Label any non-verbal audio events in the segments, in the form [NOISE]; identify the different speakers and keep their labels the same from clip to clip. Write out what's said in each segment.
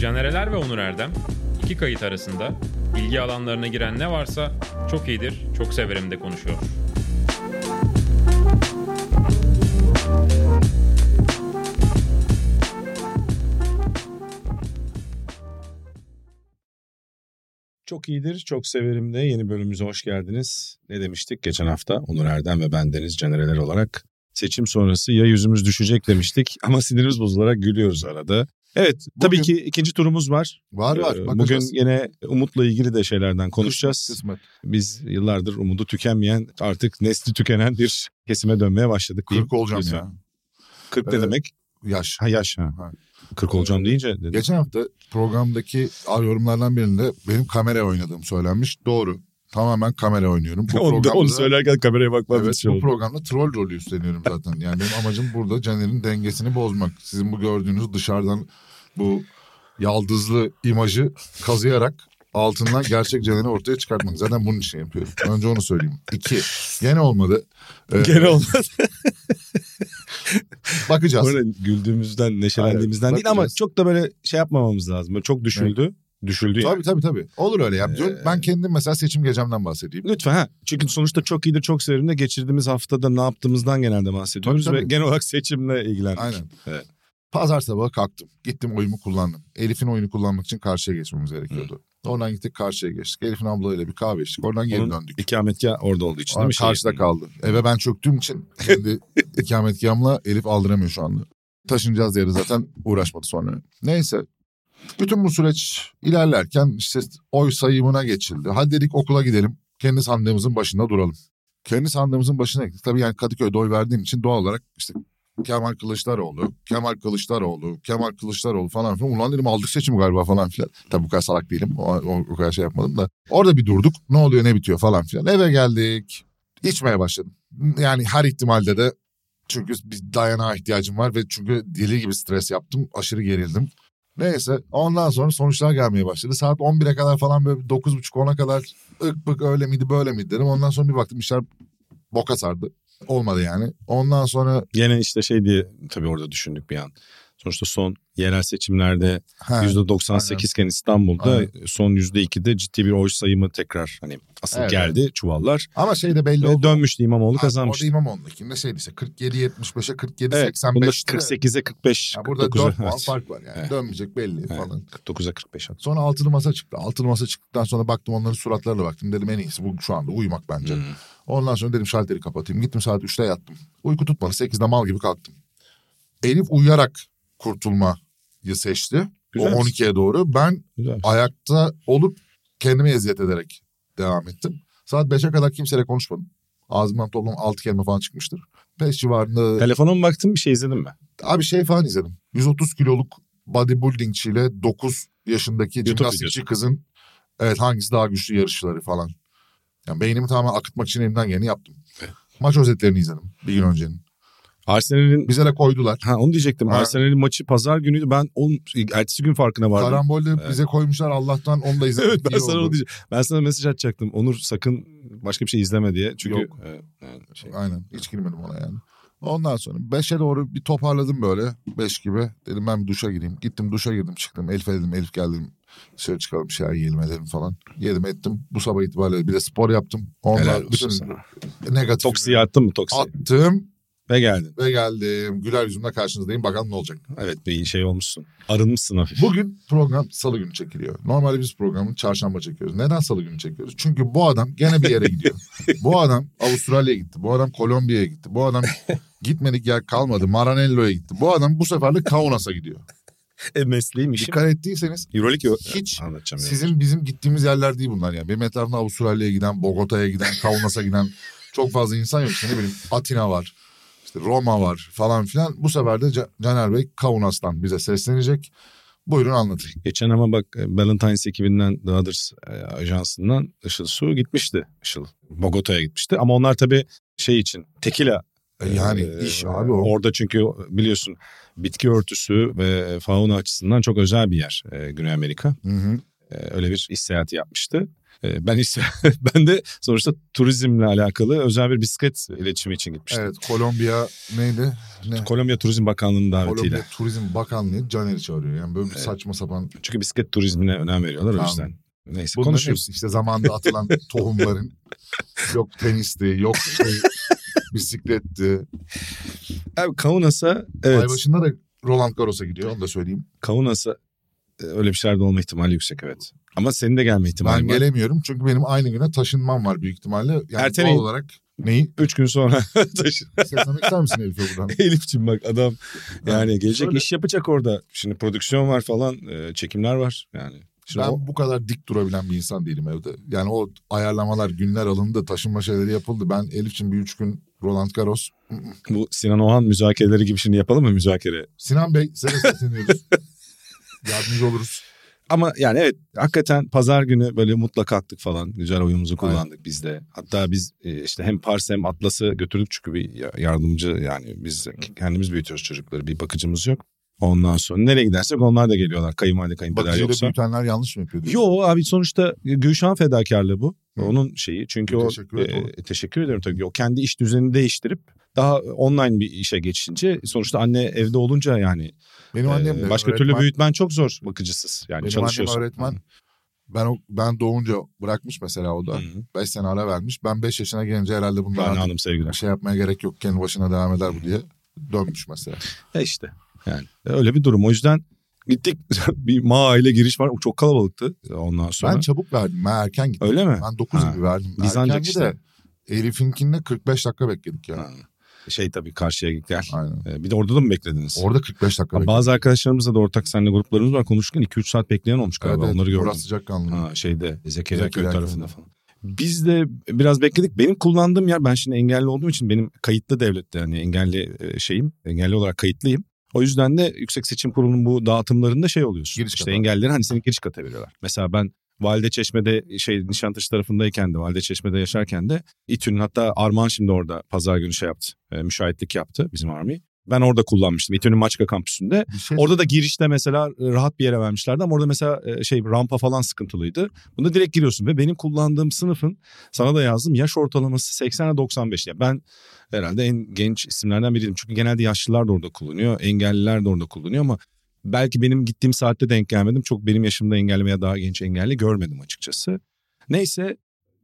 Speaker 1: Caner Eler ve Onur Erdem iki kayıt arasında ilgi alanlarına giren ne varsa çok iyidir, çok severim de konuşuyor.
Speaker 2: Çok iyidir, çok severim de yeni bölümümüze hoş geldiniz. Ne demiştik geçen hafta? Onur Erdem ve ben Deniz Canereler olarak seçim sonrası ya yüzümüz düşecek demiştik [LAUGHS] ama sinirimiz bozularak gülüyoruz arada. Evet, tabii
Speaker 3: Bugün-
Speaker 2: ki ikinci turumuz var.
Speaker 3: Var var.
Speaker 2: Ee,
Speaker 3: bakacağız.
Speaker 2: Bugün yine Umut'la ilgili de şeylerden konuşacağız.
Speaker 3: Kısmet.
Speaker 2: Biz yıllardır umudu tükenmeyen, artık nesli tükenen bir kesime dönmeye başladık. diyeyim.
Speaker 3: 40 olacağım
Speaker 2: Lütfen.
Speaker 3: ya.
Speaker 2: 40 ne
Speaker 3: Ee,
Speaker 2: demek?
Speaker 3: Yaş.
Speaker 2: Ha yaş ha.
Speaker 3: Ha.
Speaker 2: 40 olacağım deyince dedim.
Speaker 3: Geçen hafta programdaki yorumlardan birinde benim kamera oynadığım söylenmiş. Doğru. Tamamen kamera oynuyorum. Bu
Speaker 2: [LAUGHS] onu,
Speaker 3: programda,
Speaker 2: onu söylerken kameraya bakmam
Speaker 3: Evet,
Speaker 2: için
Speaker 3: bu
Speaker 2: oldu.
Speaker 3: programda troll rolü üstleniyorum zaten. Yani benim amacım burada Caner'in dengesini bozmak. Sizin bu gördüğünüz dışarıdan bu yaldızlı imajı kazıyarak altından gerçek Caner'i ortaya çıkartmak. Zaten bunun için yapıyorum. Önce onu söyleyeyim. İki, gene olmadı. Ee,
Speaker 2: Gene olmaz.
Speaker 3: bakacağız.
Speaker 2: Bu arada güldüğümüzden, neşelendiğimizden
Speaker 3: Aynen,
Speaker 2: değil ama
Speaker 3: bakacağız.
Speaker 2: çok da böyle şey yapmamamız lazım. Böyle çok düşüldü. Düşüldü yani.
Speaker 3: Tabii tabii tabii. Olur öyle ya.
Speaker 2: Ee,
Speaker 3: Ben kendim mesela seçim gecemden bahsedeyim.
Speaker 2: Lütfen ha. Çünkü sonuçta çok iyidir, çok severim de geçirdiğimiz haftada ne yaptığımızdan genelde bahsediyoruz
Speaker 3: Tabii,
Speaker 2: ve
Speaker 3: tabii.
Speaker 2: genel olarak seçimle ilgilendik.
Speaker 3: Aynen.
Speaker 2: Evet.
Speaker 3: Pazar sabahı kalktım. Gittim oyumu kullandım. Elif'in oyunu kullanmak için karşıya geçmemiz gerekiyordu. Oradan gittik karşıya geçtik. Elif'in ablayla bir kahve içtik. Oradan geri
Speaker 2: Onun
Speaker 3: döndük.
Speaker 2: İkametgah orada olduğu için
Speaker 3: Aa,
Speaker 2: değil mi?
Speaker 3: karşıda kaldı. Eve ben çöktüğüm için
Speaker 2: [LAUGHS]
Speaker 3: kendi ikametgahımla Elif aldıramıyor şu anda. Taşınacağız yere zaten uğraşmadı sonra. Neyse. Bütün bu süreç ilerlerken işte oy sayımına geçildi. Hadi dedik okula gidelim. Kendi sandığımızın başında duralım. Kendi sandığımızın başına gittik. Tabii yani Kadıköy'de oy verdiğim için doğal olarak işte Kemal Kılıçdaroğlu, Kemal Kılıçdaroğlu, Kemal Kılıçdaroğlu falan filan. Ulan dedim aldık seçimi galiba falan filan. Tabii bu kadar salak değilim. O, o, o kadar şey yapmadım da. Orada bir durduk. Ne oluyor ne bitiyor falan filan. Eve geldik. İçmeye başladım. Yani her ihtimalde de çünkü bir dayanağa ihtiyacım var ve çünkü deli gibi stres yaptım. Aşırı gerildim. Neyse ondan sonra sonuçlar gelmeye başladı. Saat 11'e kadar falan böyle 9.30-10'a kadar ık bık öyle miydi böyle miydi dedim. Ondan sonra bir baktım işler boka sardı. Olmadı yani. Ondan sonra
Speaker 2: Gene işte şey diye tabii orada düşündük bir an. Sonuçta son yerel seçimlerde
Speaker 3: ha,
Speaker 2: %98 iken İstanbul'da
Speaker 3: Aynen.
Speaker 2: son %2'de ciddi bir oy sayımı tekrar hani asıl
Speaker 3: Evet.
Speaker 2: geldi çuvallar.
Speaker 3: ama şey de belli
Speaker 2: Ve
Speaker 3: oldu.
Speaker 2: dönmüştü İmamoğlu
Speaker 3: Ha, Orada
Speaker 2: kazanmıştı.
Speaker 3: İmamoğlu'ndakinde şeydi işte 47-75'e 47-85'te.
Speaker 2: Evet, bunda 48'e 45,
Speaker 3: Ya burada
Speaker 2: 49'a
Speaker 3: 4 puan
Speaker 2: evet.
Speaker 3: fark var yani.
Speaker 2: Evet.
Speaker 3: Dönmeyecek belli falan.
Speaker 2: 49'a 45 at.
Speaker 3: Sonra altılı masa çıktı. Altılı masa çıktıktan sonra baktım onların suratlarına baktım. Dedim en iyisi bu şu anda uyumak
Speaker 2: Hmm.
Speaker 3: bence. Ondan sonra dedim şalteri kapatayım. Gittim saat 3'te yattım. Uyku tutmadı. 8'de mal gibi kalktım. Elif uyuyarak kurtulmayı seçti.
Speaker 2: Güzel.
Speaker 3: O 12'ye doğru. Ben
Speaker 2: Güzel.
Speaker 3: ayakta olup kendime eziyet ederek devam ettim. Saat 5'e kadar kimseyle konuşmadım. Ağzımdan toplam 6 kelime falan çıkmıştır. 5 civarında...
Speaker 2: Telefona mı baktın bir şey izledin mi?
Speaker 3: Abi şey falan izledim. 130 kiloluk bodybuildingçiyle 9 yaşındaki
Speaker 2: YouTube
Speaker 3: jimnastikçi kızın evet hangisi daha güçlü yarışları falan. Yani beynimi tamamen akıtmak için elimden geleni yaptım. Maç özetlerini izledim bir gün öncenin.
Speaker 2: Arsenal'in
Speaker 3: Bize de koydular.
Speaker 2: ha onu diyecektim.
Speaker 3: Ha.
Speaker 2: Arsenal'in maçı pazar günüydü. Ben on, ertesi gün farkına vardım.
Speaker 3: Karambolde bize koymuşlar Allah'tan onu da
Speaker 2: [LAUGHS]
Speaker 3: izledim.
Speaker 2: Evet ben sana onu diyeceğim. Ben sana mesaj atacaktım. Onur sakın başka bir şey izleme diye. Çünkü
Speaker 3: Yok.
Speaker 2: e, yani şey,
Speaker 3: Aynen hiç girmedim ona yani. Ondan sonra 5'e doğru bir toparladım böyle 5 gibi. Dedim ben bir duşa gireyim. Gittim duşa girdim çıktım. Elif'e dedim Elif geldim. Dışarı çıkalım bir şeyler yiyelim edelim falan. Yedim ettim. Bu sabah itibariyle bir de spor yaptım.
Speaker 2: helal
Speaker 3: Onlar
Speaker 2: olsun
Speaker 3: bütün
Speaker 2: sana.
Speaker 3: negatif
Speaker 2: Toksiyi attın mı toksiyi?
Speaker 3: attım
Speaker 2: Ve geldin.
Speaker 3: ve geldim. Güler yüzümle karşınızdayım. Bakalım ne olacak.
Speaker 2: Evet bir şey olmuşsun. Arınmışsın hafif.
Speaker 3: Bugün program salı günü çekiliyor. Normalde biz programı çarşamba çekiyoruz. Neden salı günü çekiyoruz? Çünkü bu adam gene bir yere gidiyor. bu adam Avustralya'ya gitti. Bu adam Kolombiya'ya gitti. Bu adam gitmedik yer kalmadı. Maranello'ya gitti. Bu adam bu sefer de Kaunas'a gidiyor.
Speaker 2: E, mesleğim işim.
Speaker 3: Dikkat ettiyseniz
Speaker 2: Euroleague yok.
Speaker 3: hiç
Speaker 2: Anlatacağım. Sizin...
Speaker 3: sizin bizim gittiğimiz yerler değil bunlar yani. Benim etrafımda Avustralya'ya giden, Bogota'ya giden, Kaunas'a giden çok fazla insan yok. İşte ne bileyim Atina var. işte Roma var falan filan. Bu sefer de Ca- Caner Bey Kaunas'tan bize seslenecek. Buyurun anlatın.
Speaker 2: Geçen ama bak e, Valentine's ekibinden The Others e, ajansından Işıl Su gitmişti. Işıl Bogota'ya gitmişti. Ama onlar tabii şey için tekila
Speaker 3: E Yani
Speaker 2: Ee,
Speaker 3: iş abi o.
Speaker 2: Orada çünkü biliyorsun bitki örtüsü ve fauna açısından çok özel bir yer e, Güney Amerika.
Speaker 3: Hı hı.
Speaker 2: E, öyle bir iş seyahati yapmıştı. E, ben iş, [LAUGHS] ben de sonuçta turizmle alakalı özel bir bisiklet iletişimi için gitmiştim.
Speaker 3: Evet Kolombiya neydi? Ne?
Speaker 2: Kolombiya Turizm Bakanlığı'nın davetiyle.
Speaker 3: Kolombiya Turizm Bakanlığı Caner'i çağırıyor. Yani böyle bir saçma sapan.
Speaker 2: Çünkü bisiklet turizmine önem veriyorlar o
Speaker 3: Tamam.
Speaker 2: yüzden. Neyse
Speaker 3: Bunların
Speaker 2: konuşuruz.
Speaker 3: hepsi işte zamanda
Speaker 2: [LAUGHS]
Speaker 3: atılan tohumların. Yok tenisti, yok işte bisikletti.
Speaker 2: Abi Kaunas'a E, evet.
Speaker 3: Ay başında da Roland Garros'a gidiyor onu da söyleyeyim.
Speaker 2: Kaunas'a e, öyle bir şeyler de olma ihtimali yüksek evet. Ama senin de gelme ihtimali
Speaker 3: ben
Speaker 2: var.
Speaker 3: gelemiyorum çünkü benim aynı güne taşınmam var büyük ihtimalle. Yani doğal
Speaker 2: Erteleyin.
Speaker 3: olarak
Speaker 2: [LAUGHS]
Speaker 3: neyi
Speaker 2: Üç gün sonra taşı-
Speaker 3: seslemek ister misin Elif'e buradan?
Speaker 2: Elif'cim bak adam yani gelecek
Speaker 3: şöyle-
Speaker 2: iş yapacak orada. Şimdi prodüksiyon var falan e, çekimler var yani. Şimdi
Speaker 3: ben
Speaker 2: o-
Speaker 3: bu kadar dik durabilen bir insan değilim evde. Yani o ayarlamalar günler alındı, taşınma şeyleri yapıldı. Ben Elif için bir üç gün Roland Garros.
Speaker 2: bu Sinan Oğan müzakereleri gibi şimdi yapalım mı müzakere?
Speaker 3: Sinan Bey size
Speaker 2: [LAUGHS]
Speaker 3: sesleniyoruz. Yardımcı oluruz.
Speaker 2: Ama yani evet hakikaten pazar günü böyle mutlak kalktık falan. Güzel oyunumuzu kullandık biz de. Hatta biz e, işte hem Pars hem Atlas'ı götürdük çünkü bir ya- yardımcı yani biz de kendimiz büyütüyoruz çocukları. Bir bakıcımız yok. Ondan sonra nereye gidersek onlar da geliyorlar. Kayınvalide kayınpeder
Speaker 3: Bakıcıyla
Speaker 2: yoksa.
Speaker 3: büyütenler yanlış mı yapıyor? diyorsun?
Speaker 2: Yo abi sonuçta Gülşah'ın fedakarlığı bu.
Speaker 3: Hı.
Speaker 2: Onun şeyi çünkü o
Speaker 3: Teşekkür ederim.
Speaker 2: e, teşekkür ederim tabii ki. O kendi iş düzenini değiştirip daha online bir işe geçince sonuçta anne evde olunca yani
Speaker 3: Benim annem
Speaker 2: e,
Speaker 3: de
Speaker 2: başka
Speaker 3: öğretmen.
Speaker 2: türlü büyütmen çok zor bakıcısız. Yani
Speaker 3: Benim annem
Speaker 2: çalışıyorsun.
Speaker 3: öğretmen. Ben o, ben doğunca bırakmış mesela o da.
Speaker 2: Hı.
Speaker 3: 5 sene ara vermiş. Ben 5 yaşına gelince herhalde bunlar
Speaker 2: Rana
Speaker 3: artık
Speaker 2: Hanım sevgiler.
Speaker 3: şey yapmaya gerek yok. Kendi başına devam eder bu diye dönmüş mesela.
Speaker 2: E işte yani öyle bir durum. O yüzden gittik [LAUGHS] bir maa ile giriş var. O çok kalabalıktı ondan sonra.
Speaker 3: Ben çabuk verdim. Ben erken gittim.
Speaker 2: öyle mi?
Speaker 3: Ben 9
Speaker 2: Ha.
Speaker 3: gibi verdim.
Speaker 2: Biz
Speaker 3: erken
Speaker 2: ancak
Speaker 3: de
Speaker 2: işte.
Speaker 3: Elif'inkinde 45 dakika bekledik ya.
Speaker 2: Ha. Şey tabii karşıya git gel.
Speaker 3: Aynen.
Speaker 2: E, bir de orada da mı beklediniz?
Speaker 3: Orada 45 dakika
Speaker 2: Ha,
Speaker 3: bekledik.
Speaker 2: bazı arkadaşlarımızla da ortak seninle gruplarımız var. Konuşurken 2-3 saat bekleyen olmuş galiba. Onları gördüm.
Speaker 3: Orası sıcakkanlı.
Speaker 2: Ha, şeyde Zekeriya
Speaker 3: Zekeriya
Speaker 2: Köy
Speaker 3: Köy'de.
Speaker 2: tarafında falan. Biz de biraz bekledik. Benim kullandığım yer ben şimdi engelli olduğum için benim kayıtlı devlette yani engelli e, şeyim. Engelli olarak kayıtlıyım. O yüzden de Yüksek Seçim Kurulu'nun bu dağıtımlarında şey oluyorsun.
Speaker 3: Giriş
Speaker 2: işte
Speaker 3: kata.
Speaker 2: engellileri hani seni giriş kata veriyorlar. Mesela ben Valide Çeşme'de şey Nişantaşı tarafındayken de Valide Çeşme'de yaşarken de İTÜ'nün hatta Arman şimdi orada pazar günü şey yaptı. e, müşahitlik yaptı bizim Army. Ben orada kullanmıştım. İTÜ'nün Maçka kampüsünde.
Speaker 3: Bir şey
Speaker 2: Orada da girişte mesela e, rahat bir yere vermişlerdi ama orada mesela e, şey rampa falan sıkıntılıydı. Bunda direkt giriyorsun ve benim kullandığım sınıfın sana da yazdım yaş ortalaması 80'e 95. Yani ben herhalde en genç isimlerden biriydim. Çünkü genelde yaşlılar da orada kullanıyor, engelliler de orada kullanıyor ama belki benim gittiğim saatte denk gelmedim. Çok benim yaşımda engelli veya daha genç engelli görmedim açıkçası. Neyse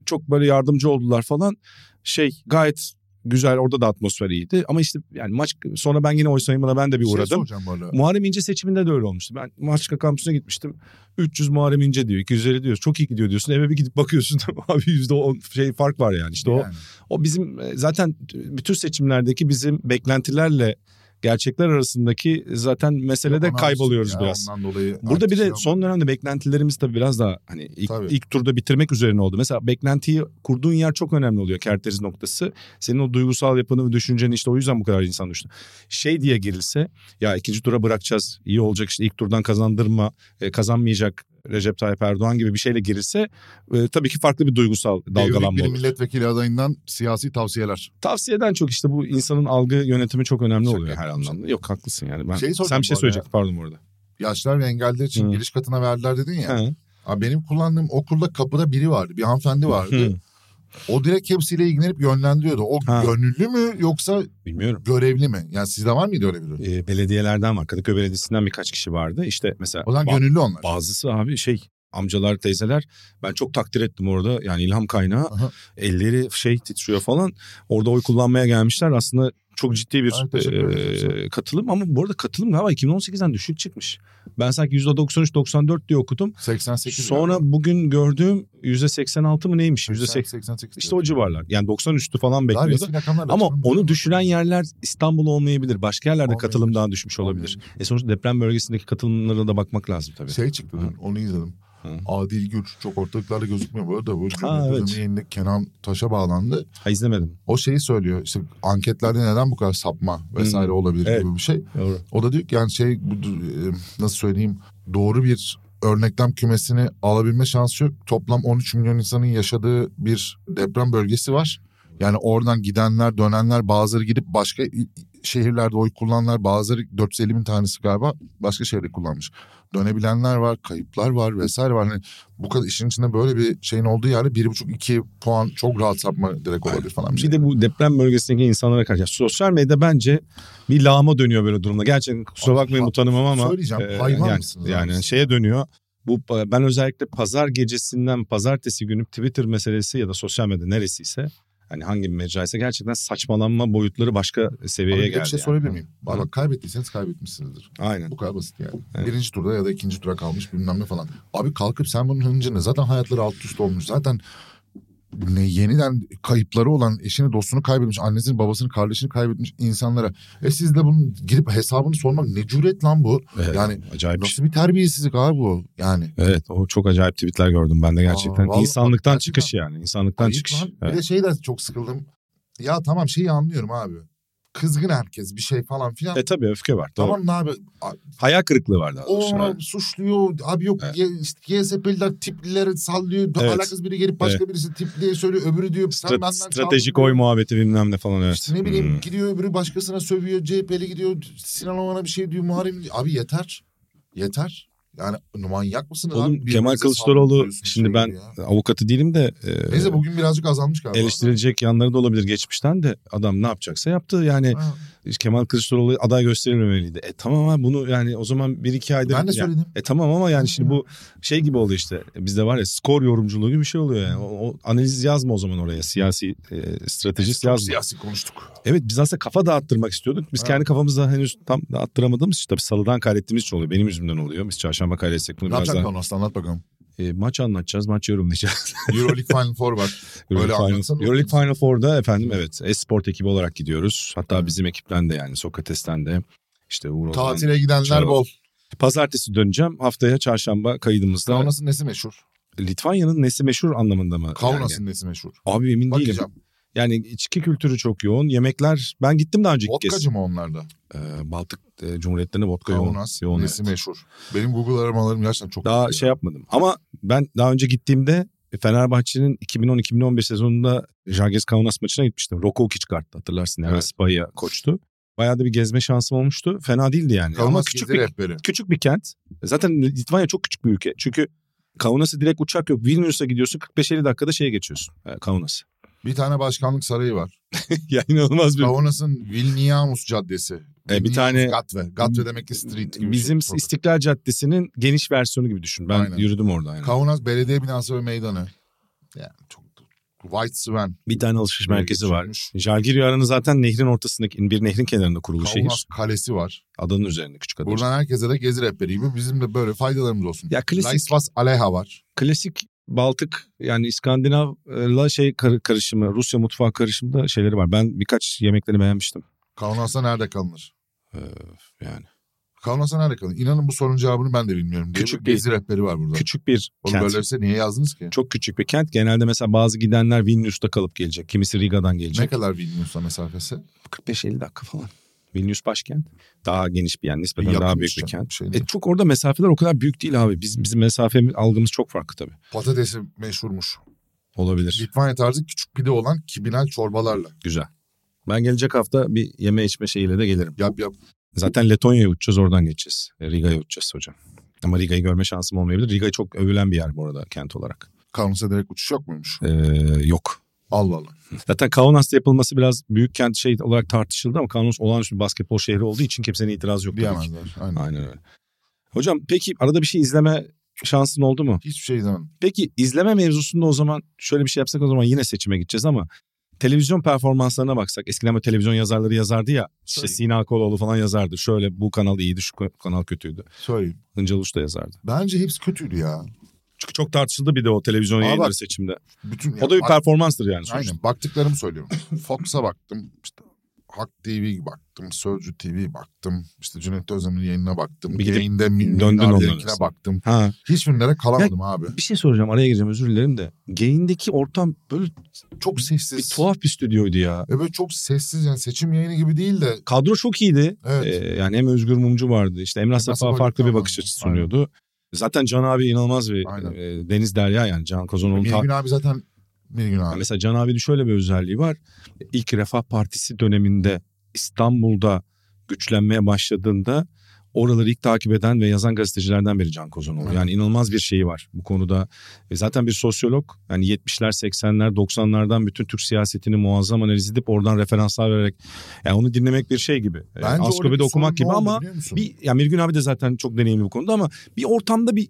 Speaker 2: çok böyle yardımcı oldular falan. Şey gayet güzel orada da atmosfer iyiydi ama işte yani maç sonra ben yine oy sayımına ben de bir
Speaker 3: şey
Speaker 2: uğradım.
Speaker 3: soracağım bu arada.
Speaker 2: Muharrem İnce seçiminde de öyle olmuştu. Ben Maçka kampüsüne gitmiştim. 300 Muharrem İnce diyor. 250 diyor. Çok iyi gidiyor diyorsun. Eve bir gidip bakıyorsun. [LAUGHS] Abi %10 şey fark var yani. İşte o,
Speaker 3: Yani.
Speaker 2: o bizim e, zaten bütün seçimlerdeki bizim beklentilerle gerçekler arasındaki zaten meselede
Speaker 3: Ona
Speaker 2: kayboluyoruz
Speaker 3: ya,
Speaker 2: biraz.
Speaker 3: Ondan dolayı
Speaker 2: Burada bir de
Speaker 3: artık şey
Speaker 2: son dönemde beklentilerimiz tabii biraz daha hani ilk,
Speaker 3: Tabii.
Speaker 2: ilk turda bitirmek üzerine oldu. Mesela beklentiyi kurduğun yer çok önemli oluyor kerteriz noktası. Senin o duygusal yapını ve düşünceni işte o yüzden bu kadar insan düştü. Şey diye girilse ya ikinci tura bırakacağız iyi olacak işte ilk turdan kazandırma e, kazanmayacak Recep Tayyip Erdoğan gibi bir şeyle girilse e, tabii ki farklı bir duygusal
Speaker 3: olmaz.
Speaker 2: dalgalanma
Speaker 3: Devrik bir
Speaker 2: olur.
Speaker 3: milletvekili adayından siyasi tavsiyeler.
Speaker 2: Tavsiyeden çok işte bu insanın algı yönetimi çok önemli
Speaker 3: Şaka
Speaker 2: oluyor her
Speaker 3: yapmışım.
Speaker 2: anlamda. Yok haklısın yani. Ben,
Speaker 3: Şeyi soracağım
Speaker 2: sen bir şey
Speaker 3: bu arada
Speaker 2: söyleyecektin pardon bu arada.
Speaker 3: Yaşlar ve engelliler için
Speaker 2: Hı.
Speaker 3: giriş katına verdiler dedin ya.
Speaker 2: Ha.
Speaker 3: Abi benim kullandığım okulda kapıda biri vardı. Bir hanımefendi vardı.
Speaker 2: Hı.
Speaker 3: O direkt hepsiyle ilgilenip yönlendiriyordu. O
Speaker 2: Ha.
Speaker 3: gönüllü mü yoksa
Speaker 2: Bilmiyorum.
Speaker 3: görevli mi? Yani sizde var mıydı öyle biri?
Speaker 2: e, belediyelerden var. Kadıköy Belediyesi'nden birkaç kişi vardı. İşte mesela
Speaker 3: O zaman
Speaker 2: ba-
Speaker 3: gönüllü onlar.
Speaker 2: bazısı abi şey amcalar teyzeler ben çok takdir ettim orada yani ilham kaynağı
Speaker 3: Aha.
Speaker 2: elleri şey titriyor falan orada oy kullanmaya gelmişler aslında çok ciddi bir
Speaker 3: Ay, teşekkür ederim.
Speaker 2: e, katılım ama bu arada katılım galiba 2018'den düşük çıkmış. Ben sanki %93-94 diye okudum.
Speaker 3: 88
Speaker 2: Sonra
Speaker 3: galiba.
Speaker 2: bugün gördüğüm %86 mı neymiş?
Speaker 3: 80,
Speaker 2: %80
Speaker 3: 88.
Speaker 2: işte o civarlar. Yani 90 üstü falan
Speaker 3: Daha
Speaker 2: bekliyordu.
Speaker 3: resmi rakamlar da
Speaker 2: Ama
Speaker 3: açıklanmış.
Speaker 2: onu düşüren yerler İstanbul olmayabilir. Başka yerlerde
Speaker 3: Olmayabilir.
Speaker 2: katılım daha düşmüş olabilir. E sonuçta deprem bölgesindeki katılımlara da bakmak lazım tabii.
Speaker 3: Şey çıktı dün, onu izledim.
Speaker 2: Hı.
Speaker 3: Adil Güç çok ortalıklarda gözükmüyor bu arada. Bu
Speaker 2: Ha,
Speaker 3: Cumhuriyet
Speaker 2: evet.
Speaker 3: Adamı yayında Kenan Taş'a bağlandı.
Speaker 2: Ha izlemedim.
Speaker 3: O şeyi söylüyor işte anketlerde neden bu kadar sapma vesaire
Speaker 2: Hı.
Speaker 3: olabilir
Speaker 2: Evet.
Speaker 3: gibi bir şey.
Speaker 2: Doğru.
Speaker 3: O da diyor ki yani şey bu, e, nasıl söyleyeyim doğru bir örneklem kümesini alabilme şansı yok. Toplam 13 milyon insanın yaşadığı bir deprem bölgesi var. Yani oradan gidenler, dönenler bazıları gidip başka il- şehirlerde oy kullananlar bazıları 450 bin tanesi galiba başka şehirde kullanmış. Dönebilenler var, kayıplar var vesaire var. Hani bu kadar işin içinde böyle bir şeyin olduğu yerde 1,5-2 puan çok rahat sapma direkt olabilir falan bir şey.
Speaker 2: Bir de bu deprem bölgesindeki insanlara karşı. Ya Sosyal medya bence bir lağıma dönüyor böyle durumda. Gerçekten kusura
Speaker 3: Abi,
Speaker 2: bakmayın
Speaker 3: ha-
Speaker 2: utanımam ama. e,
Speaker 3: söyleyeceğim, hayvan
Speaker 2: yani,
Speaker 3: mısınız
Speaker 2: Yani
Speaker 3: abi?
Speaker 2: şeye dönüyor. Bu ben özellikle pazar gecesinden pazartesi günü Twitter meselesi ya da sosyal medya neresiyse hani hangi mecraysa gerçekten saçmalanma boyutları başka
Speaker 3: Abi
Speaker 2: seviyeye
Speaker 3: bir de
Speaker 2: geldi.
Speaker 3: bir şey
Speaker 2: yani.
Speaker 3: sorabilir miyim? Bak, bak kaybettiyseniz kaybetmişsinizdir.
Speaker 2: Aynen.
Speaker 3: Bu kadar basit yani.
Speaker 2: Evet.
Speaker 3: Birinci turda ya da ikinci tura kalmış bilmem ne falan. Abi kalkıp sen bunun hıncı ne? Zaten hayatları alt üst olmuş. Zaten ne yeniden kayıpları olan eşini dostunu kaybetmiş annesini babasını kardeşini kaybetmiş insanlara e siz de bunun gidip hesabını sormak ne cüret lan bu
Speaker 2: Evet,
Speaker 3: yani
Speaker 2: acayip bir şey.
Speaker 3: nasıl bir terbiyesizlik abi bu yani
Speaker 2: Evet o çok acayip tweetler gördüm ben de gerçekten.
Speaker 3: Aa, vallahi
Speaker 2: insanlıktan
Speaker 3: bak,
Speaker 2: çıkış yani. insanlıktan
Speaker 3: Ayıp
Speaker 2: çıkış.
Speaker 3: lan.
Speaker 2: Evet.
Speaker 3: Bir de şeyden çok sıkıldım ya tamam şeyi anlıyorum abi kızgın herkes bir şey falan filan
Speaker 2: E tabii öfke var. Doğru.
Speaker 3: tamam ne abi A-
Speaker 2: Hayal kırıklığı var daha
Speaker 3: O
Speaker 2: doğrusu. Hani
Speaker 3: ona
Speaker 2: Evet.
Speaker 3: suçluyor. Abi yok
Speaker 2: Evet.
Speaker 3: G- işte GSP'liler tiplileri sallıyor.
Speaker 2: Evet.
Speaker 3: Alakasız biri gelip başka birisi tipliye söylüyor. Öbürü diyor sen
Speaker 2: Stra-
Speaker 3: benden çaldın
Speaker 2: stratejik
Speaker 3: diyor.
Speaker 2: oy muhabbeti bilmem ne falan evet.
Speaker 3: İşte ne bileyim
Speaker 2: Hmm.
Speaker 3: gidiyor öbürü başkasına sövüyor. CHP'li gidiyor. Sinan Oğan'a bir şey diyor. Muharrem diyor. Abi yeter. Yeter. Yani manyak mısınız
Speaker 2: Oğlum
Speaker 3: abi?
Speaker 2: Kemal
Speaker 3: Birbirinize
Speaker 2: Kılıçdaroğlu
Speaker 3: saldırıyorsunuz
Speaker 2: şimdi
Speaker 3: şey
Speaker 2: ben
Speaker 3: gibi ya.
Speaker 2: Hmm. avukatı değilim de e,
Speaker 3: Neyse bugün birazcık azalmış galiba.
Speaker 2: eleştirilecek yanları da olabilir geçmişten de adam ne yapacaksa yaptı. Yani
Speaker 3: Ha,
Speaker 2: Kemal Kılıçdaroğlu aday gösterilmemeliydi. E tamam abi bunu yani o zaman bir iki ayda...
Speaker 3: Ben de
Speaker 2: Ya-
Speaker 3: söyledim.
Speaker 2: E tamam ama yani şimdi
Speaker 3: Hmm.
Speaker 2: bu şey gibi oldu işte bizde var ya skor yorumculuğu gibi bir şey oluyor yani. O, o analiz yazma o zaman oraya siyasi e, stratejist
Speaker 3: Çok
Speaker 2: yazma.
Speaker 3: siyasi konuştuk.
Speaker 2: Evet biz aslında kafa dağıttırmak istiyorduk. Biz
Speaker 3: Ha.
Speaker 2: kendi kafamızda henüz tam dağıttıramadığımız için tabii salıdan kaydettiğimiz için oluyor. Benim yüzümden oluyor. Biz çarşamba kaydetsek bunu
Speaker 3: Ne
Speaker 2: biraz
Speaker 3: yapacak
Speaker 2: daha...
Speaker 3: lan aslan anlat bakalım.
Speaker 2: E, maç anlatacağız, maç yorumlayacağız.
Speaker 3: Euroleague Final Four var. [LAUGHS] Öyle
Speaker 2: Euroleague
Speaker 3: anlatsana.
Speaker 2: Final, Euroleague Final Four'da efendim evet Esport ekibi olarak gidiyoruz. Hatta
Speaker 3: Hı.
Speaker 2: bizim ekipten de yani Sokrates'ten de işte Uğur Ozan.
Speaker 3: Tatile gidenler
Speaker 2: Çağla.
Speaker 3: bol.
Speaker 2: Pazartesi döneceğim. Haftaya çarşamba kaydımızda.
Speaker 3: Kaunas'ın nesi meşhur?
Speaker 2: Litvanya'nın nesi meşhur anlamında mı?
Speaker 3: Kaunas'ın nesi meşhur?
Speaker 2: Yani? Abi emin değilim.
Speaker 3: Bakacağım.
Speaker 2: Yani içki kültürü çok yoğun. Yemekler ben gittim daha önceki kez.
Speaker 3: Vodkacı mı onlarda?
Speaker 2: Ee, Baltık e, Cumhuriyetlerinde vodka yoğun.
Speaker 3: Kaunas
Speaker 2: yoğun
Speaker 3: nesi
Speaker 2: evet.
Speaker 3: meşhur. Benim Google aramalarım gerçekten çok
Speaker 2: Daha
Speaker 3: kötü ya.
Speaker 2: şey yapmadım. Ama ben daha önce gittiğimde e, Fenerbahçe'nin 2010-2015 sezonunda Jarges Kaunas maçına gitmiştim. Roko Kiçkart'ta hatırlarsın. Yani
Speaker 3: Evet.
Speaker 2: Spaya koçtu. Bayağı da bir gezme şansım olmuştu. Fena değildi yani. Ama
Speaker 3: Kaunas
Speaker 2: küçük
Speaker 3: gizli
Speaker 2: bir,
Speaker 3: rehberi.
Speaker 2: küçük bir kent. E, Zaten Litvanya çok küçük bir ülke. Çünkü Kaunas'a direkt uçak yok. Vilnius'a gidiyorsun 45-50 dakikada şeye geçiyorsun. e, Kaunas'a.
Speaker 3: Bir tane başkanlık sarayı var.
Speaker 2: [LAUGHS] ya inanılmaz bir...
Speaker 3: Kaunas'ın Vilnius Caddesi.
Speaker 2: E, bir
Speaker 3: Vilnius
Speaker 2: tane-
Speaker 3: Gatve. Gatve demek ki street gibi. bir
Speaker 2: Bizim
Speaker 3: şey.
Speaker 2: İstiklal Caddesi'nin geniş versiyonu gibi düşün. Ben
Speaker 3: Aynen.
Speaker 2: yürüdüm orada. Yani.
Speaker 3: Kaunas Belediye Binası ve Meydanı. Yani çok White Swan.
Speaker 2: Bir tane alışveriş
Speaker 3: Böyle
Speaker 2: merkezi var.
Speaker 3: geçirilmiş.
Speaker 2: Jalgiri Aranı zaten nehrin ortasındaki bir nehrin kenarında kurulu
Speaker 3: Kaunas
Speaker 2: şehir.
Speaker 3: Kalesi var.
Speaker 2: Adanın üzerinde küçük ada.
Speaker 3: Buradan herkese de gezi rehberi gibi bizim de böyle faydalarımız olsun.
Speaker 2: Ya klasik
Speaker 3: Laisvas Aleha var.
Speaker 2: klasik Baltık yani İskandinav'la şey kar- karışımı, Rusya mutfağı karışımında şeyleri var. Ben birkaç yemeklerini beğenmiştim.
Speaker 3: Kaunas'ta nerede kalınır?
Speaker 2: Ee, yani
Speaker 3: Kaunas'a nerede kalınır? İnanın bu sorunun cevabını ben de bilmiyorum. Diye
Speaker 2: Küçük
Speaker 3: bir
Speaker 2: bir-
Speaker 3: gezi rehberi var burada.
Speaker 2: küçük bir
Speaker 3: Onu
Speaker 2: kent.
Speaker 3: böyleyse şey niye yazdınız ki?
Speaker 2: Çok küçük bir kent. Genelde mesela bazı gidenler Vilnius'ta kalıp gelecek. Kimisi Riga'dan gelecek.
Speaker 3: Ne kadar Vilnius'a mesafesi?
Speaker 2: 45-50 dakika falan. Vilnius başkent. Daha geniş bir yer. Nispeten
Speaker 3: Yakın şey,
Speaker 2: daha büyük
Speaker 3: işte,
Speaker 2: bir kent.
Speaker 3: şeyine.
Speaker 2: E çok orada mesafeler o kadar büyük değil abi. Biz, bizim mesafe algımız çok farklı tabii.
Speaker 3: Patatesi meşhurmuş.
Speaker 2: Olabilir.
Speaker 3: Litvanya tarzı küçük pide olan kibinal çorbalarla.
Speaker 2: Güzel. Ben gelecek hafta bir yeme içme şeyiyle de gelirim.
Speaker 3: Yap yap.
Speaker 2: Zaten Letonya'ya uçacağız oradan geçeceğiz. E, Riga'ya uçacağız hocam. Ama Riga'yı görme şansım olmayabilir. Riga çok övülen bir yer bu arada kent olarak.
Speaker 3: Kaunas'a direkt uçuş yok muymuş?
Speaker 2: E, yok.
Speaker 3: Allah Allah.
Speaker 2: Zaten Kaunas'ta yapılması biraz büyük kent şey olarak tartışıldı ama Kaunas olağanüstü bir basketbol şehri olduğu için kimsenin itirazı yok. tabii ki.
Speaker 3: Diyemezler. Aynen.
Speaker 2: Aynen öyle. Hocam peki arada bir şey izleme şansın oldu mu?
Speaker 3: Hiçbir şey izlemedim.
Speaker 2: Peki izleme mevzusunda o zaman şöyle bir şey yapsak o zaman yine seçime gideceğiz ama televizyon performanslarına baksak eskiden böyle televizyon yazarları yazardı ya işte
Speaker 3: Tabii.
Speaker 2: Sina Koloğlu falan yazardı. Şöyle bu kanal iyiydi şu kanal kötüydü.
Speaker 3: Söyleyeyim.
Speaker 2: Hıncal Uç da yazardı.
Speaker 3: Bence hepsi kötüydü ya.
Speaker 2: Çünkü çok tartışıldı bir de o televizyon
Speaker 3: Aa,
Speaker 2: yayınları
Speaker 3: bak.
Speaker 2: seçimde.
Speaker 3: Bütün
Speaker 2: O da bir
Speaker 3: Bak-
Speaker 2: performanstır yani sonuçta.
Speaker 3: Aynen. Baktıklarımı söylüyorum. [LAUGHS] Fox'a baktım. İşte Hak TV baktım. Sözcü TV baktım. İşte Cüneyt Özdemir'in yayınına baktım.
Speaker 2: Bir gidip
Speaker 3: Yayında
Speaker 2: döndün onların
Speaker 3: Minnar'ınkine
Speaker 2: arasında.
Speaker 3: baktım.
Speaker 2: Ha.
Speaker 3: Hiçbirine kalamadım abi.
Speaker 2: Bir şey soracağım araya gireceğim özür dilerim de. Geyindeki ortam böyle
Speaker 3: Çok
Speaker 2: bir
Speaker 3: sessiz.
Speaker 2: tuhaf bir stüdyoydu ya.
Speaker 3: E böyle çok sessiz yani seçim yayını gibi değil de
Speaker 2: Kadro çok iyiydi.
Speaker 3: Evet.
Speaker 2: Ee, yani hem Özgür Mumcu vardı. İşte Emrah Safa
Speaker 3: Safa
Speaker 2: farklı bir
Speaker 3: Gökhan
Speaker 2: bakış
Speaker 3: vardı.
Speaker 2: açısı sunuyordu. Zaten Can abi inanılmaz bir
Speaker 3: Aynen.
Speaker 2: e, deniz derya yani Can Kozanoğlu'nun ta-
Speaker 3: Mirgün Hani abi zaten Mirgün
Speaker 2: Ya
Speaker 3: abi.
Speaker 2: Mesela Can abinin şöyle bir özelliği var. İlk Refah Partisi döneminde İstanbul'da güçlenmeye başladığında oraları ilk takip eden ve yazan gazetecilerden biri Can Kozanoğlu. Yani inanılmaz bir şeyi var bu konuda. E, zaten bir sosyolog yani 70'ler 80'ler 90'lardan bütün Türk siyasetini muazzam analiz edip oradan referanslar vererek yani onu dinlemek bir şey gibi. E,
Speaker 3: Bence orada
Speaker 2: Askobe'de
Speaker 3: bir sorun
Speaker 2: okumak gibi
Speaker 3: ne oldu
Speaker 2: ama
Speaker 3: biliyor musun?
Speaker 2: bir ya Mirgün abi de zaten çok deneyimli bu konuda ama bir ortamda bir